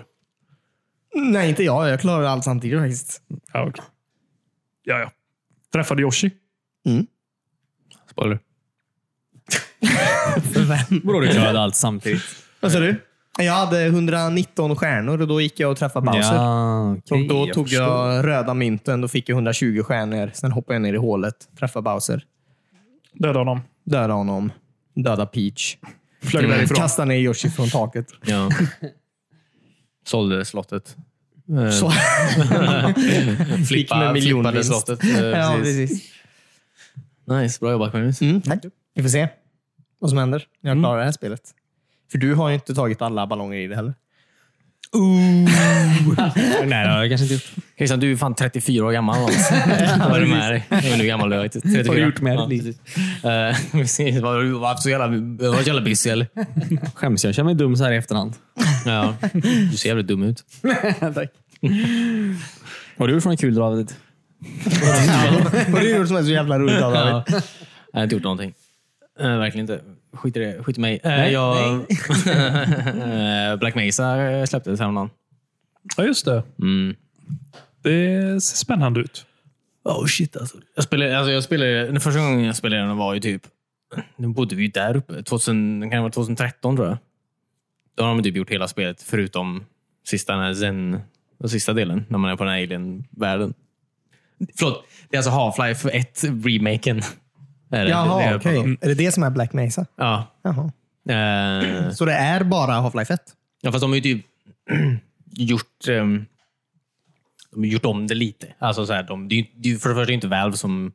S3: Nej, inte jag. Jag klarar allt samtidigt faktiskt.
S1: Ja, okej. ja, ja. Träffade Yoshi.
S3: Mm.
S5: Spoiler.
S2: Vadå, du klarade allt samtidigt?
S3: Vad sa du? Jag hade 119 stjärnor och då gick jag och träffade Bowser.
S2: okej,
S3: och då
S2: jag
S3: tog
S2: förstår.
S3: jag röda mynten. Då fick jag 120 stjärnor. Sen hoppade jag ner i hålet, träffade Bowser,
S1: Döda honom.
S3: dödade honom, dödade Peach,
S1: Flög
S3: Mm.
S1: därifrån.
S3: kastade ner Yoshi från taket.
S5: Ja. Sålde slottet.
S3: Så. Fick med
S5: flippade
S3: miljonvinst.
S5: slottet. Eh,
S3: Ja,
S5: precis.
S3: precis.
S5: Nice, bra jobbat Magnus.
S3: Mm, tack. Mm. Vi får se vad som händer när jag klarar det här spelet. För du har ju inte tagit alla ballonger i det heller.
S2: Nej, det har jag kanske inte gjort.
S5: Christian, du är fan 34 år gammal. Alltså. Vad är du med dig? Jag vet inte hur gammal du är. 34.
S2: Vad har du gjort med
S5: Ja,
S2: ditt
S5: precis. Eh, precis. Vad har du varit så jävla, du har varit så jävla busy eller?
S2: Skäms jag? Jag känner mig dum så här i efterhand.
S5: Ja. Du ser jävligt dum ut.
S2: Har du gjort något kul David?
S3: Och det är det som är så jävla roligt av David.
S5: Ja. Jag har inte gjort någonting. Eh, verkligen inte. Skit i det. Skit i mig. Eh, jag... Eh, Black Mesa eh, släpptes häromdagen.
S1: Ja, just det.
S5: Mm.
S1: Det ser spännande ut.
S5: Oh shit alltså. Jag spelade, alltså jag spelade, den första gången jag spelade den var ju typ, nu bodde vi ju där uppe, 2000, kan det vara 2013 tror jag. Då har de typ gjort hela spelet förutom sista, den här zen, den sista delen, när man är på den här alien-världen. Förlåt, det är alltså Half-Life 1-remaken.
S3: Jaha, okej. Mm. Är det det som är Black Mesa?
S5: Ja.
S3: Jaha.
S5: Eh,
S3: Så det är bara Half-Life 1?
S5: Ja, fast de har ju typ gjort, ehm, de har gjort om det lite. Alltså så här, de, det är ju det är ju för det första inte Valve som,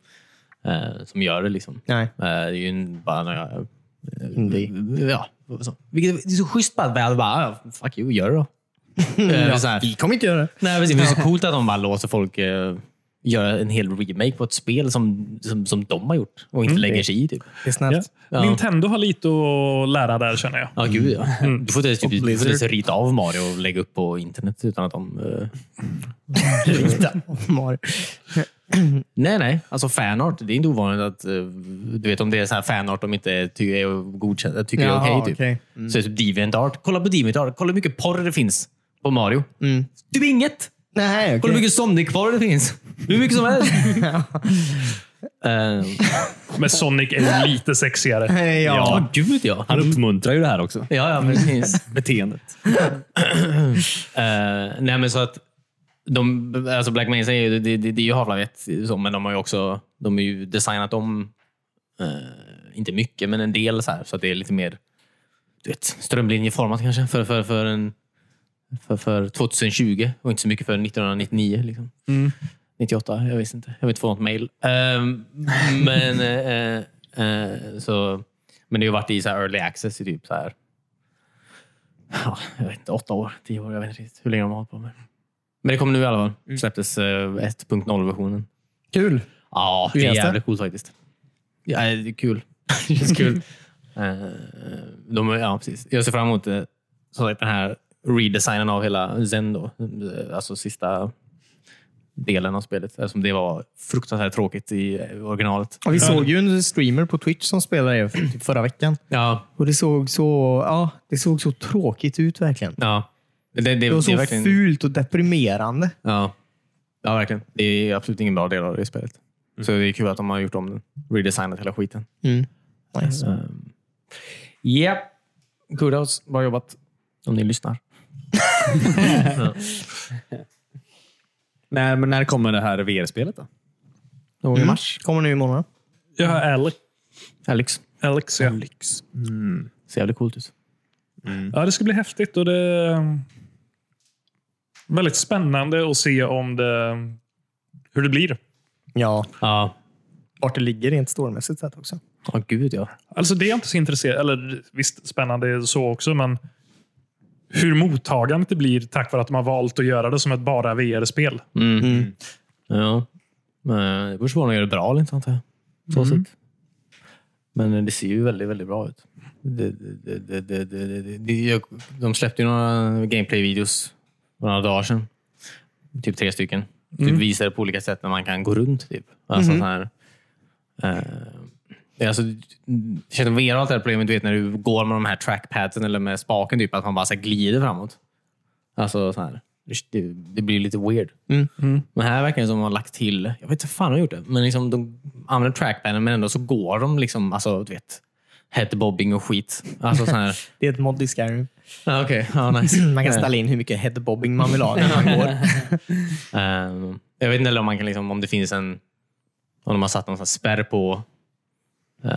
S5: eh, som gör det. liksom.
S3: Nej.
S5: Eh, det är ju en, bara några... eh,
S3: Indie.
S5: Ja, vad sa- vilket, det är så schysst bara att Valve bara, "Ah, fuck you, gör det då. Eh, så här,
S3: Vi kommer inte göra det.
S5: Nej, precis, men det är så coolt att de bara låter folk eh, göra en hel remake på ett spel som, som, som de har gjort och
S3: Mm.
S5: inte lägger sig i. Typ.
S3: Det är
S1: Ja.
S3: snällt.
S1: Nintendo har lite att lära där, känner jag.
S5: Ja, gud ja. Du får inte ens typ, du får inte
S3: Mm. Blizzard.
S5: ens rita av Mario och lägga upp på internet utan att de... eh,
S3: Rita Mario.
S5: Nej, nej. Alltså fanart, det är inte ovanligt att... eh, Du vet om det är så här fanart de inte ty är godkänd, tycker
S3: Jaha,
S5: är okej. typ.
S3: okej.
S5: Så det är typ DeviantArt. Kolla på DeviantArt. Kolla hur mycket porr det finns på Mario. Typ inget!
S3: Nej, okej.
S5: Kolla hur mycket Sonic-porr det finns. Hur mycket som helst. Eh,
S1: Men Sonic är ju lite sexigare.
S3: Ja.
S5: ja, gud ja.
S2: Han uppmuntrar ju det här också.
S5: Ja, ja, precis.
S2: Beteendet.
S5: Eh, nej, men så att de, alltså Black Mesa är ju, det, det, det är ju Havlavett, så, men de har ju också de har ju designat om, eh, inte mycket, men en del så här, så att det är lite mer du vet, strömlinjeformat kanske för, för, för, en, för, för 2020 och inte så mycket för 1999. Liksom. 98, jag visste inte. Jag vet inte få något mejl. Ehm, men, eh, eh, så, men det har ju varit i så här early access i typ så här ja, jag vet inte, åtta år, tio år. Jag vet inte riktigt hur länge de har hållit på med. Men det kom nu i alla fall. Släpptes eh, 1.0-versionen.
S3: Kul.
S5: Ja, det är
S3: känns det?
S5: jävligt coolt faktiskt. Ja, det är kul. Det känns kul. Eh, de, ja, precis. Jag ser fram emot eh, som sagt, den här redesignen av hela Zen. Då. Eh, Alltså sista delen av spelet. Eftersom det var fruktansvärt tråkigt i eh, originalet.
S3: Ja, vi såg ju en streamer på Twitch som spelade det för- typ förra veckan.
S5: Ja,
S3: Och det såg så, ja, det såg så tråkigt ut verkligen.
S5: ja. Det, det, det,
S3: Det var
S5: är
S3: så
S5: verkligen...
S3: fult och deprimerande.
S5: Ja. ja, verkligen. Det är absolut ingen bra del av det spelet. Så det är kul att de har gjort om den. Redesignat hela skiten.
S3: Mm. Nice. Mm.
S5: Um, yep. Kudos. Bra jobbat. Om ni lyssnar.
S2: När, men när kommer det här VR-spelet då?
S5: Någon
S3: Mm. Kommer nu imorgon.
S1: Jag har Alex.
S5: Alex.
S1: Alex ja.
S5: Ser jävligt coolt ut.
S1: ja, det ska bli häftigt och det är väldigt spännande att se om det, hur det blir.
S3: Ja.
S5: Ja.
S3: Vart det ligger rent stormässigt sett också.
S5: Ja, gud ja.
S1: Alltså det är jag inte så intresserad Eller visst, spännande så också, men hur mottagandet det blir tack vare att de har valt att göra det som ett bara VR-spel.
S5: Mm. ja. Men det beror på om de gör det bra eller inte, antar jag. Så sett. Men det ser ju väldigt, väldigt bra ut. Det, det, det, det, det, det, det, det, jag- de släppte ju några gameplay-videos för några dagar sedan. Typ tre stycken. Typ visar på olika sätt när man kan gå runt. Typ. Alltså, så här, eh, alltså, det känns som VR har alltid det här problemet du vet, när du går med de här trackpadsen eller med spaken, typ, att man bara så här, glider framåt. Alltså så här. Det, det blir lite weird. Men här verkar det som att de har lagt till, jag vet inte fan de har gjort det, men liksom de använder trackpaden men ändå så går de liksom, alltså du vet, headbobbing och skit. Alltså sån här.
S3: Det är ett mod i Skyrim.
S5: Ja, Okej, ja nice.
S3: Man kan ställa in hur mycket headbobbing man vill ha när man går.
S5: Ehm, jag vet inte heller om, man kan liksom, om det finns en... Om de har satt någon sån här spärr på eh,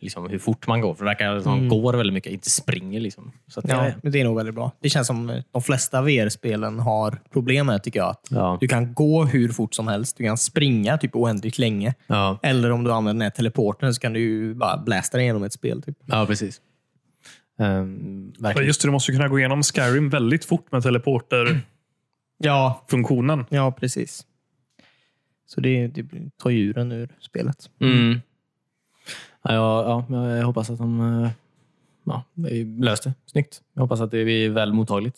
S5: liksom hur fort man går. För det verkar som att de går väldigt mycket, inte springer. Liksom. Så att,
S3: Ja,
S5: Mm. ja.
S3: men det är nog väldigt bra. Det känns som eh, de flesta VR-spelen har problem med, tycker jag. Att
S5: Ja.
S3: Du kan gå hur fort som helst. Du kan springa typ oändligt länge.
S5: Ja.
S3: Eller om du använder den här teleporten så kan du ju bara blästa dig igenom ett spel. Typ.
S5: ja, precis. Ehm,
S1: Ja,
S5: verkligen.
S1: Just det, du måste kunna gå igenom Skyrim väldigt fort med teleporterfunktionen.
S3: Ja,
S1: Mm.
S3: ja, precis. Så det, det tar djuren ur spelet.
S5: Mm. Ja, ja, ja, jag hoppas att de eh, ja, det löste det. Snyggt. Jag hoppas att det blir väl mottagligt.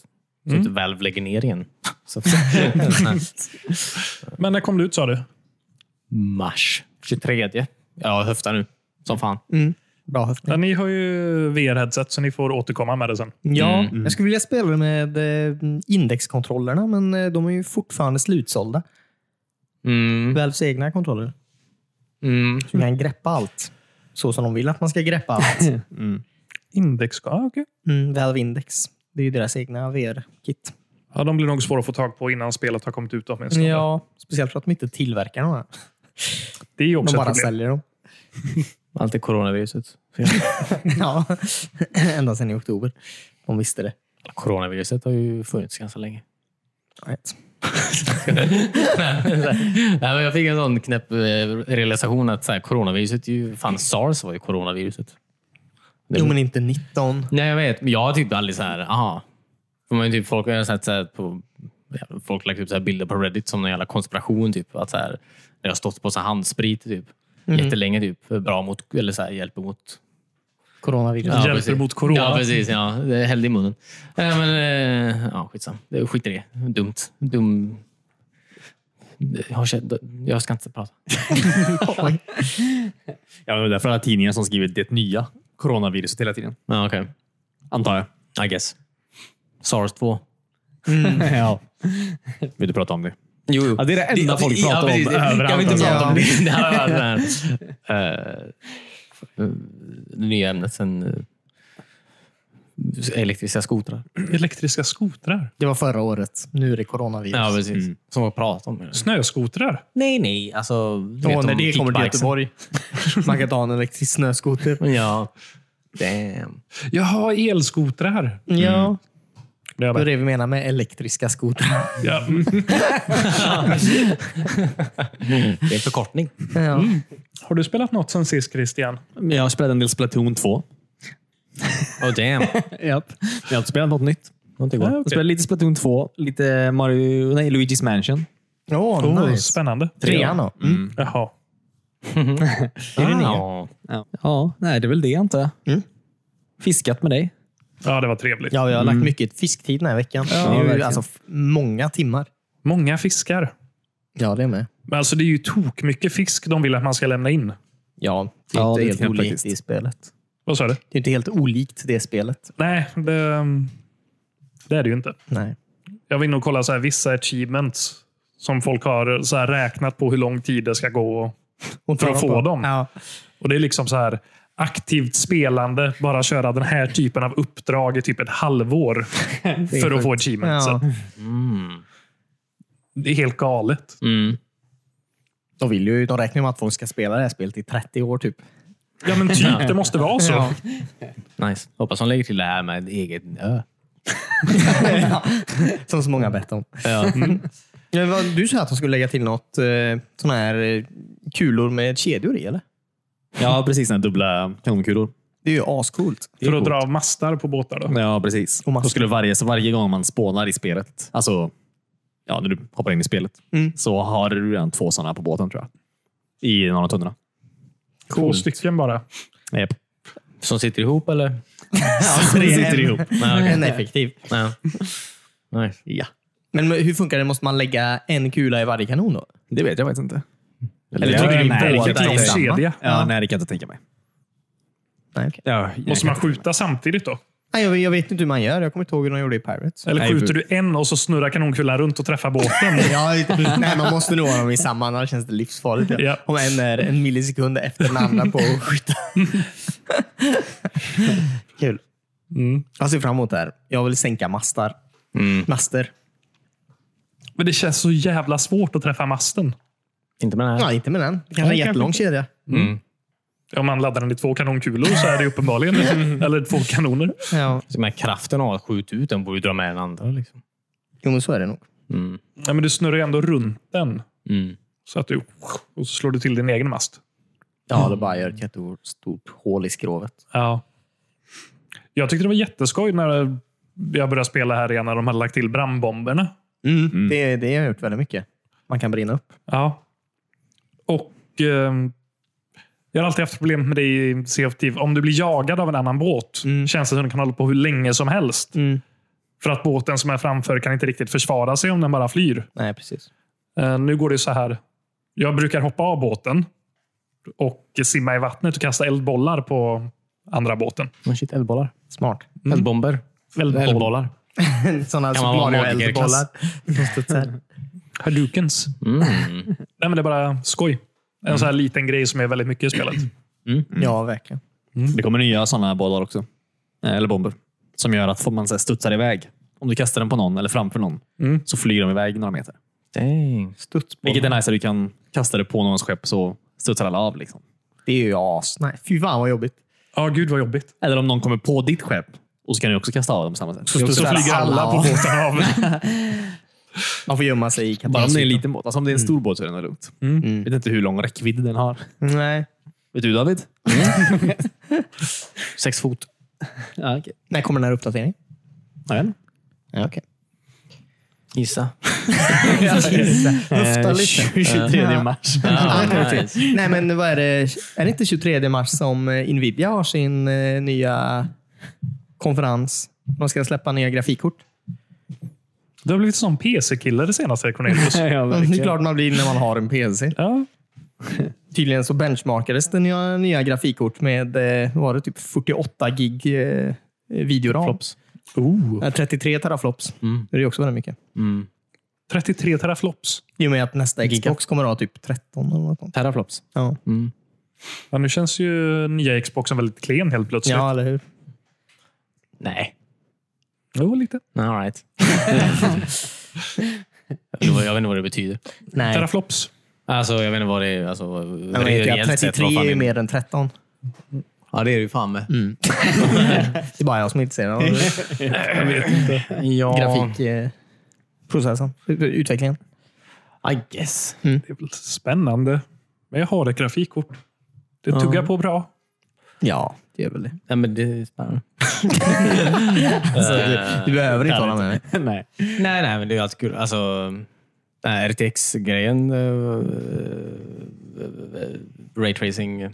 S5: Så inte Valve lägger ner igen. Så,
S1: Men när kom det ut sa du?
S5: mars 23. Ja, höfta nu. Som fan.
S3: Bra höftning.
S1: Ja, ni har ju VR-headset så ni får återkomma med det sen.
S3: Ja, jag skulle vilja spela det med eh, indexkontrollerna, men eh, de är ju fortfarande slutsålda.
S5: Mm.
S3: Valves egna kontroller.
S5: Mm.
S3: Så man kan greppa allt. Så som de vill att man ska greppa allt.
S1: Index? Ah, okay.
S3: Mm, Valve Index. Det är ju deras egna VR-kit.
S1: ja, de blir nog svåra att få tag på innan spelet har kommit ut. Åtminstone.
S3: Ja, speciellt för att de inte tillverkar några.
S1: Det är ju
S3: De
S1: också ett
S3: bara
S1: problem.
S3: säljer dem.
S5: Allt är coronaviruset.
S3: Ja, ända sedan i oktober. De visste det.
S5: Coronaviruset har ju funnits ganska länge.
S3: Right.
S5: Nej, men jag fick en sån knäpp eh, realisation att så här, coronaviruset, är ju, fan sars var ju coronaviruset. Det-
S3: Jo, men inte 19.
S5: Nej, jag vet. Men jag har typ aldrig så här, aha. För man, är typ, folk har sett så här på, ja, folk har lagt upp så här bilder på Reddit som en jävla konspiration. Typ, att så här, det har stått på så här handsprit typ,
S1: Mhm.
S5: jättelänge. Typ, bra mot, eller så här, hjälper mot
S3: Coronavirus.
S1: Hjälper mot corona.
S5: Ja, precis. Ja, det hällde i munnen. Äh, men, eh, ja, skitsam. Det- Skit i det. Dumt. Dum. Jag, har, känt- jag ska inte prata.
S2: Ja, men det är därför alla tidningar som skriver det nya coronaviruset hela tiden.
S5: Ja, Okej.
S2: Antar jag.
S5: I guess. Sars 2.
S2: ja. Vill du prata om det?
S5: Jo, jo.
S2: Mm. Ja, det är det enda folk pratar om
S5: överallt. Kan vi inte
S3: alltså.
S5: prata
S3: Ja.
S5: om det? Det här, det, här, eh, det nya ämnet sen eh, elektriska skotrar.
S1: Elektriska skotrar?
S3: Det var förra året. Nu är det coronavirus.
S5: Ja, precis. Mm. Som vi pratat om.
S1: Snöskotrar?
S5: Nej, nej. Alltså, du
S3: Åh,
S5: vet,
S3: när
S5: om
S3: det kommer till
S5: kickbikesen.
S3: Göteborg. Man kan ta en elektrisk snöskoter.
S5: Mm. Ja. Damn.
S1: Jaha, elskotrar.
S3: Ja,
S1: Det är
S3: det är
S1: det.
S3: det vi menar med elektriska skotrar.
S1: Ja. mm.
S5: Det är en förkortning.
S3: Ja.
S1: Har du spelat något sen sist, Christian?
S2: Jag spelade en del Splatoon 2.
S5: Oh damn.
S2: Japp. Ah, Men jag har inte spelat något nytt.
S5: Någonting var.
S2: Jag spelade lite Splatoon 2, lite Mario, nej, Luigi's Mansion.
S3: Åh,
S1: Oh,
S3: nice.
S1: Spännande.
S3: Trean då? Mm.
S1: Jaha.
S5: Är det nya?
S2: Ja, ja nej, det är väl det antar jag.
S3: Mm.
S2: Fiskat med dig.
S1: Ja, det var trevligt.
S3: Ja, jag har lagt mycket fisktid den här veckan. det är ju
S2: verkligen.
S3: alltså f- många timmar.
S1: Många fiskar.
S3: Ja, det är med.
S1: Men alltså, det är ju tok mycket fisk de vill att man ska lämna in.
S3: Ja, det är
S2: Ja,
S3: inte
S2: det
S3: helt
S2: kan jag
S3: olikt
S2: faktiskt.
S3: det spelet.
S1: Vad sa du?
S3: Det är inte helt olikt det spelet.
S1: Nej, det, ehm, det är det ju inte.
S3: Nej.
S1: Jag vill nog kolla så här, vissa achievements som folk har så här, räknat på hur lång tid det ska gå.
S3: Och
S1: För att
S3: ta
S1: få
S3: på.
S1: dem.
S3: Ja.
S1: Och Det är liksom så här aktivt spelande, bara köra den här typen av uppdrag i typ ett halvår för att få achievements.
S3: Ja.
S1: Det är helt galet.
S5: Mm.
S3: De, vill ju, de räknar ju med att folk ska spela det här spelet i 30 år typ.
S1: Ja, men typ. Det måste vara så.
S3: Ja.
S5: Nice. Hoppas de lägger till det här med egen ö.
S3: Som så många har bett om.
S5: Ja.
S2: Mm.
S3: Ja, vad- Du sa att de skulle lägga till något eh, sådana här eh, kulor med kedjor i, eller?
S2: Ja, precis. Den här dubbla kanonkulor.
S3: Det är ju ascoolt.
S1: För att dra av mastar på båtar. Då.
S2: Ja, precis.
S3: Och massor.
S2: Då skulle varje, så varje gång man spånar i spelet, alltså ja, när du hoppar in i spelet,
S3: Mm.
S2: så har du redan två sådana på båten tror jag. I någon av tunnorna.
S1: Två stycken bara.
S2: Japp.
S5: Som sitter ihop eller?
S2: Så alltså, det sitter ihop.
S5: Nej, okej.
S3: En effektiv.
S5: Ja. Nice.
S3: Ja. Men hur funkar det? Måste man lägga en kula i varje kanon då?
S2: Det vet jag faktiskt inte.
S1: Det
S2: Eller,
S1: är ju
S2: nej,
S1: båda
S2: det
S1: i
S2: kan
S1: en
S2: jag inte.
S3: samma.
S1: kedja.
S2: Ja, nej, det kan jag inte tänka mig.
S3: Nej, okej.
S2: Ja,
S1: Måste man skjuta samtidigt då?
S3: Nej, jag, jag vet inte hur man gör. Jag kommer inte ihåg hur de gjorde i Pirates.
S1: Eller
S2: Nej,
S1: skjuter du en och så snurrar kanonkulan runt och träffar båten?
S3: Ja, nej, man måste nog ha dem i samma, annars känns det livsfarligt.
S1: Ja.
S3: Om en är en millisekund efter den andra på att skjuta. Kul.
S1: Mm.
S3: Jag ser fram emot det här. Jag vill sänka mastar. Mm. Master.
S1: Men det känns så jävla svårt att träffa masten.
S5: Inte med den här.
S3: Ja, inte med den. Kanske
S1: kanske
S3: en jättelång
S1: inte.
S3: kedja.
S5: Mm.
S1: Om man laddar den i två kanonkulor så är det ju uppenbarligen. Eller två kanoner.
S3: Ja.
S5: Så Med kraften av att skjuta ut den borde ju dra med den andra. Liksom.
S3: Jo, men så är det nog.
S5: Mm.
S1: Ja, men du snurrar ju ändå runt den.
S5: Mm.
S1: Så att du, och så slår du till din egen mast.
S3: Ja, det bara gör ett jättestort hål i skrovet.
S1: Ja. Jag tyckte det var jätteskoj när jag började spela här igen när de hade lagt till brandbomberna.
S3: Mm. Det, det har jag gjort väldigt mycket. Man kan brinna upp.
S1: Ja. Och eh, jag har alltid haft problem med det i Sea of Thieves. Om du blir jagad av en annan båt känns det som att den kan hålla på hur länge som helst. För att båten som är framför kan inte riktigt försvara sig om den bara flyr.
S3: Nej, precis.
S1: Eh, nu går det så här. Jag brukar hoppa av båten och simma i vattnet och kasta eldbollar på andra båten.
S5: Oh, shit, eldbollar.
S3: Smart.
S5: Eldbomber.
S1: Eldboll.
S5: Eldbollar.
S3: Sådana
S5: Kan man vara
S3: soplario
S5: magikerklass?
S3: eldbollar. som studsar.
S1: Hadoukens.
S5: Mm.
S1: Nej, men det är bara skoj. En sån här liten grej som är väldigt mycket i spelet.
S3: Ja, verkligen.
S2: Mm. Det kommer nya sådana bollar också. Eh, Eller bomber. Som gör att man så här, studsar iväg. Om du kastar den på någon eller framför någon så flyger de iväg några meter.
S5: Dang.
S3: Studsboll.
S2: Vilket är nice. att Du kan kasta det på någons skepp så studsar alla av. Liksom.
S3: Det är ju as. Nej, fy fan vad jobbigt.
S1: Ja, gud vad jobbigt.
S2: Eller om någon kommer på ditt skepp och så kan du också kasta av dem på samma sätt.
S1: Så,
S3: så här,
S1: flyger alla
S3: alla-
S1: på båten av.
S3: Man får gömma sig i
S2: Bara om det är en
S3: katastrofen.
S2: liten båt. Alltså, om det är en stor båt så är det nog lugnt. Mm. Vet inte hur lång räckvidd den har.
S3: Nej.
S2: Vet du David?
S5: Sex fot.
S2: Ja, okay.
S3: När kommer den här uppdateringen? Ja, okej.
S5: Gissa.
S3: Lufta lite.
S2: 23 mars.
S5: Ja,
S3: Nej, men vad är det? Är det inte 23 mars som eh, Nvidia har sin eh, nya konferens? De ska släppa nya grafikkort.
S1: Du har blivit sån PC-kille det senaste, Cornelius.
S2: ja,
S3: Det är
S2: verkligen.
S3: Mm, klart man blir när man har en PC.
S1: Ja.
S3: Tydligen så benchmarkades den nya, nya grafikkort med eh, vad var det typ 48 gig eh, videoram. Eh,
S1: Oh.
S5: Mm.
S3: Ja, 33 teraflops. Det är ju också väldigt mycket.
S1: 33 teraflops.
S3: I och med att nästa
S5: Giga.
S3: Xbox kommer att ha typ 13 eller något sånt.
S5: Teraflops.
S3: Ja,
S5: Mm.
S1: Ja, nu känns ju nya Xboxen väldigt klen helt plötsligt.
S3: ja eller hur?
S5: Nej.
S1: Jo, lite.
S5: All right. jag vet inte vad det betyder.
S3: Nej.
S1: Teraflops.
S5: Alltså, jag vet inte vad det är. Alltså,
S3: Nej, men vet jag, 33 är ju mer än 13.
S5: Ja, det är det ju fan med.
S3: Det är bara jag som inte ser den.
S5: Ja.
S3: Grafikprocessen. Utvecklingen.
S5: I guess.
S1: Det är väl spännande. Men jag har ett grafikkort. Det tuggar på bra.
S3: Ja, det är väl det.
S5: Nej, men det är spännande.
S3: Alltså, du, du behöver inte hålla med mig.
S5: nej. nej, nej, men det är alltid kul. Alltså, den här RTX-grejen. eh, eh, eh, Raytracing. eh,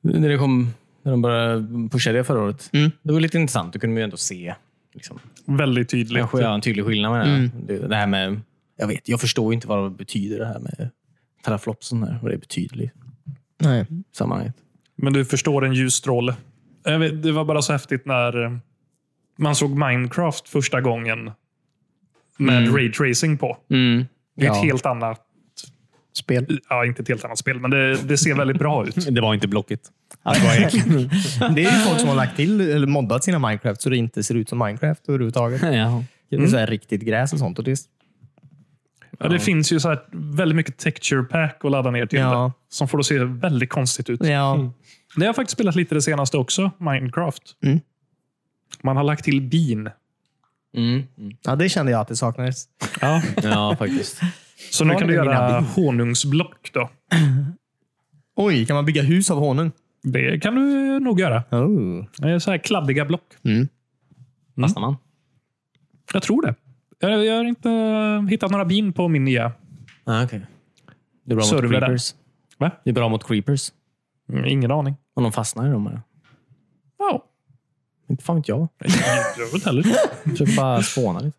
S5: När det kom, när de började pusha det förra året. Det var lite intressant. Då kunde man ju ändå se. Liksom,
S1: Väldigt tydligt.
S5: kanske göra en tydlig skillnad med det. här. det. Det här med, jag vet, jag förstår ju inte vad det betyder det här med teraflopsen. Här, vad det betyder i
S3: Nej.
S5: sammanhanget.
S1: Men du förstår en ljusstråle. Jag vet, Det var bara så häftigt när eh, man såg Minecraft första gången med raytracing på. Det är ett
S3: Mm. Ja.
S1: helt annat
S3: Spel.
S1: Ja, inte ett helt annat spel, men det, det ser väldigt bra ut.
S2: Det var inte Blocket.
S3: Det är ju folk som har lagt till eller moddat sina Minecraft så det inte ser ut som Minecraft överhuvudtaget.
S5: Ja.
S3: Det är så här riktigt gräs och sånt. Och det är,
S1: Ja, det finns ju så här väldigt mycket texture pack att ladda ner till
S3: Ja.
S1: det, som får det att se väldigt konstigt ut.
S3: ja.
S1: Det har jag faktiskt spelat lite det senaste också, Minecraft.
S3: Mm.
S1: Man har lagt till bin.
S5: Mm.
S3: ja, det kände jag att det saknades.
S1: Ja.
S5: ja, faktiskt.
S1: Så nu
S3: Var
S1: kan
S3: det
S1: du
S3: mina
S1: göra
S3: bin?
S1: honungsblock. Då.
S3: Oj, kan man bygga hus av honung?
S1: Det kan du nog göra.
S3: Oh.
S1: Det är Så här kladdiga block.
S5: Fastnar man?
S1: Jag tror det. Jag, jag har inte eh, hittat några bin på min nya.
S5: Ah, okay. Det är bra mot
S1: Server där.
S5: creepers.
S1: Va?
S5: Det är bra mot creepers.
S1: Mm, Ingen aning.
S5: Om de fastnar i dem. eller?
S1: Ja.
S5: Inte fan vet jag.
S1: Jag vet heller.
S5: Försöker bara spåna lite.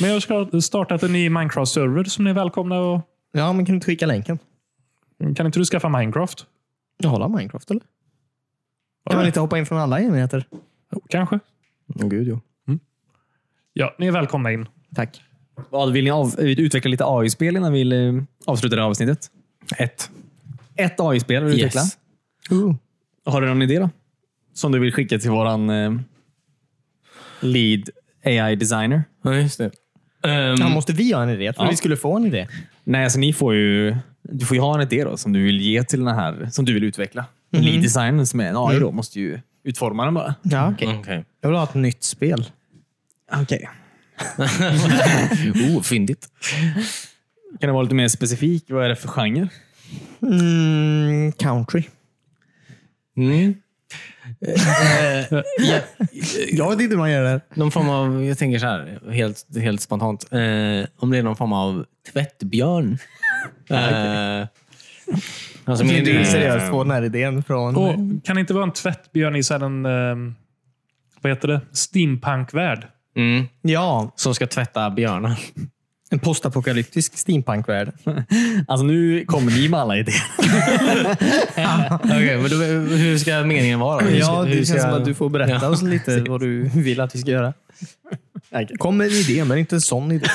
S1: Men jag har startat en ny Minecraft-server som ni är välkomna och Mm,
S3: Ja, men kan du inte skicka länken?
S1: Kan inte du skaffa Minecraft?
S3: Jag håller Minecraft, eller? Kan
S1: Ja.
S3: man inte hoppa in från alla enheter?
S1: Jo, Kanske.
S5: Oh, gud, jo.
S1: Ja, ni är välkomna in.
S3: Tack.
S2: Vad vill ni av, utveckla lite AI-spel innan vi eh, avslutar det här avsnittet? Ett. Ett AI-spel vill du utveckla.
S5: Yes.
S3: Oh.
S2: Har du någon idé då? Som du vill skicka till våran eh, lead AI-designer?
S5: Ja, just det. Ehm,
S3: Mm. Ja, måste vi ha en idé? För
S2: Ja.
S3: vi skulle få en idé.
S2: Nej, alltså ni får ju... Du får ju ha en idé då, som du vill ge till den här, som du vill utveckla. Lead designern som är en AI då, måste ju utforma den bara.
S3: Ja, okej.
S5: Okej.
S3: Jag vill ha ett nytt spel.
S2: Okej.
S5: Oh, fyndigt.
S2: Kan du vara lite mer specifik? Vad är det för genre?
S3: Mm, country.
S5: Mm.
S3: Jag vet inte hur man gör det.
S5: Någon form av, jag tänker så här, helt, helt spontant. Eh, om det är någon form av tvättbjörn. Eh, alltså
S3: Du,
S5: min,
S3: du är
S5: eh,
S3: seriöst på den här idén från...
S1: Och kan det inte vara en tvättbjörn i så här en... ehm, vad heter det? Steampunk-värld.
S5: mm,
S3: Ja,
S5: som ska tvätta björnar.
S3: en postapokalyptisk steampunkvärld.
S2: Alltså nu kommer ni med alla idéer.
S5: Okej, men då, hur ska meningen vara? då? Hur ska-
S3: Ja,
S5: hur
S3: det känns
S5: ska-
S3: som att du får berätta
S5: Ja,
S3: oss lite vad du vill att vi ska göra. Kom med en idé, men inte en sån idé.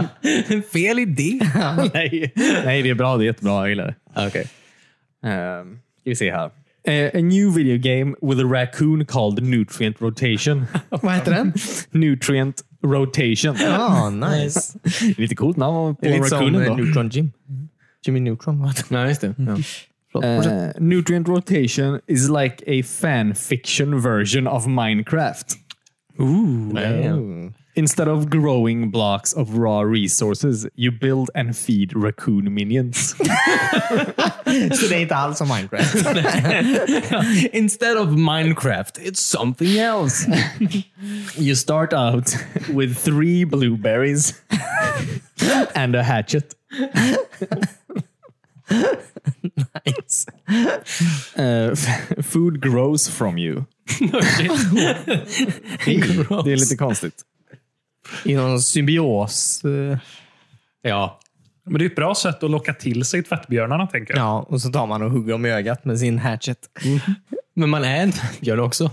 S5: Fel idé.
S2: Nej. Nej, det är bra. Det är jättebra. Jag gillar det.
S5: Okej.
S2: Um, ska vi se här. Eh, a new video game with a raccoon called Nutrient Rotation.
S3: vad heter den?
S2: Nutrient Rotation.
S3: Ja, nice.
S2: Lite coolt namn på
S3: Det är lite som
S2: raccoonen
S3: eh,
S2: då.
S3: Neutron Jim. Jimmy Neutron. vad heter
S5: Nej, just det. Ja.
S3: han? Förlåt.
S2: Eh, nutrient Rotation is like a fan fiction version of Minecraft. Eh, Instead of growing blocks of raw resources, you build and feed raccoon minions.
S5: Eh.
S3: Så det är inte alls som Minecraft.
S5: Instead of Minecraft, it's something else.
S2: you start out with three blueberries and a hatchet.
S3: Nice.
S2: Uh, f- food grows from you. Det är lite konstigt.
S3: I någon symbios. eh,
S5: ja.
S1: Men det är ett bra sätt att locka till sig tvättbjörnarna, tänker jag.
S3: Ja, och så tar man och hugger dem i ögat med sin hatchet.
S5: Mm. Men man är en björn också.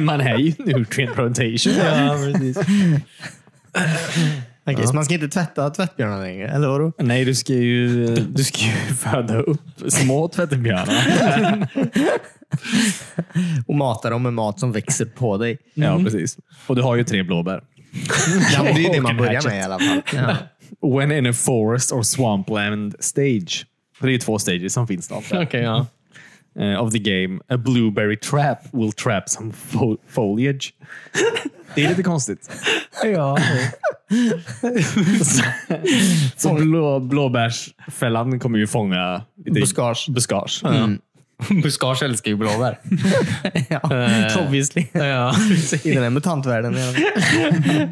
S2: Man är ju nutrient rotation.
S5: ja, precis.
S3: Okej, så man ska inte tvätta tvättbjörnar längre? Eller vadå?
S2: Nej, du ska ju, du ska ju föda upp små tvättbjörnar.
S3: Och mata dem med mat som växer på dig.
S2: Ja, precis. Och du har ju tre blåbär.
S3: Ja, men det är ju det man
S2: en
S3: börjar
S2: hatchet.
S3: med i alla fall. Ja.
S2: When in a forest or swampland stage. För Det är ju två stages som finns av det.
S5: Okej, ja.
S2: Eh, of the game. A blueberry trap will trap some fo- foliage. Det är lite konstigt.
S5: ja.
S2: Så blå, blåbärsfällan kommer ju fånga lite
S3: Buskage.
S2: buskage. Mm.
S5: Buskage älskar ju blåbär.
S2: Mm. Eh,
S3: Ja, obviously.
S5: ja.
S3: I den här mutantvärlden. ja.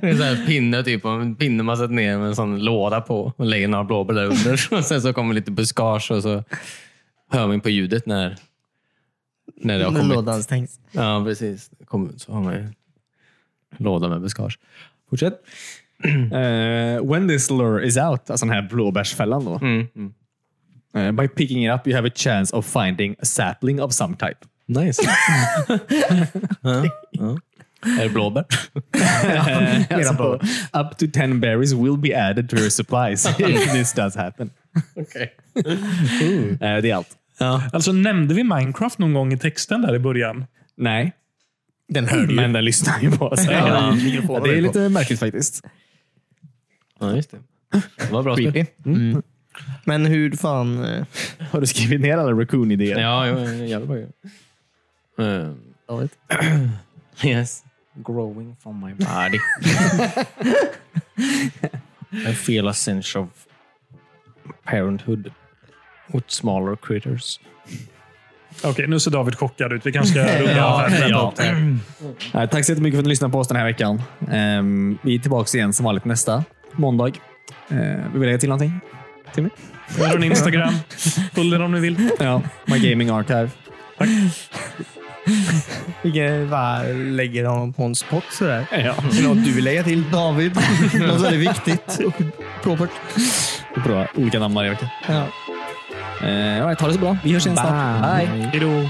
S5: Det är en sån här pinne, typ, och en pinne man sätter ner med en sån låda på och lägger några blåbär där under. Och sen så kommer lite buskage och så hör man ju på ljudet när, när det har
S3: När
S5: kommit.
S3: lådan stängs.
S5: Ja, precis. Kom, så har man ju låda med buskage.
S2: Fortsätt. Eh, when this lure is out, alltså den här blåbärsfällan då. Eh, by picking it up you have a chance of finding a sapling of some type.
S5: Nice. Är det Eh, blåbär?
S3: Mera på.
S2: Up to 10 berries will be added to your supplies if this does happen.
S5: Okej.
S2: Eh, det är allt.
S1: Alltså, nämnde vi Minecraft någon gång i texten där i början?
S2: Nej,
S3: Den hör du ju.
S2: men den lyssnar ju på oss.
S3: Ja,
S2: Ja,
S3: mikrofonen
S2: det
S3: är
S2: är
S3: på.
S2: lite märkligt faktiskt.
S5: Ja, just det. Det var bra spel.
S3: Creepy. Men hur fan... eh,
S2: Har du skrivit ner alla Raccoon-idéer?
S5: Ja, jo, jävligt bra ju. Ehm,
S3: jag vet.
S5: Yes. Growing from my body. I feel a sense of parenthood with smaller critters.
S1: Okej, nu ser David chockad ut. Vi kanske ska runda av här.
S2: Ja. Eh, Tack så jättemycket för att ni lyssnade på oss den här veckan. Ehm, vi är tillbaka igen som vanligt nästa måndag. Eh, vill du lägga till någonting? Timmy?
S1: Vår Instagram. Följ den om ni vill.
S2: Ja, My Gaming Archive.
S3: Vilken, va, lägger honom på en spot sådär?
S2: Ja,
S3: Är det något du vill lägga till David? något väldigt viktigt och propert?
S2: vi provar olika namn varje vecka.
S3: Ja.
S2: Eh, all right, ha det så bra. Vi hörs igen snart. Hej!
S1: Hej då.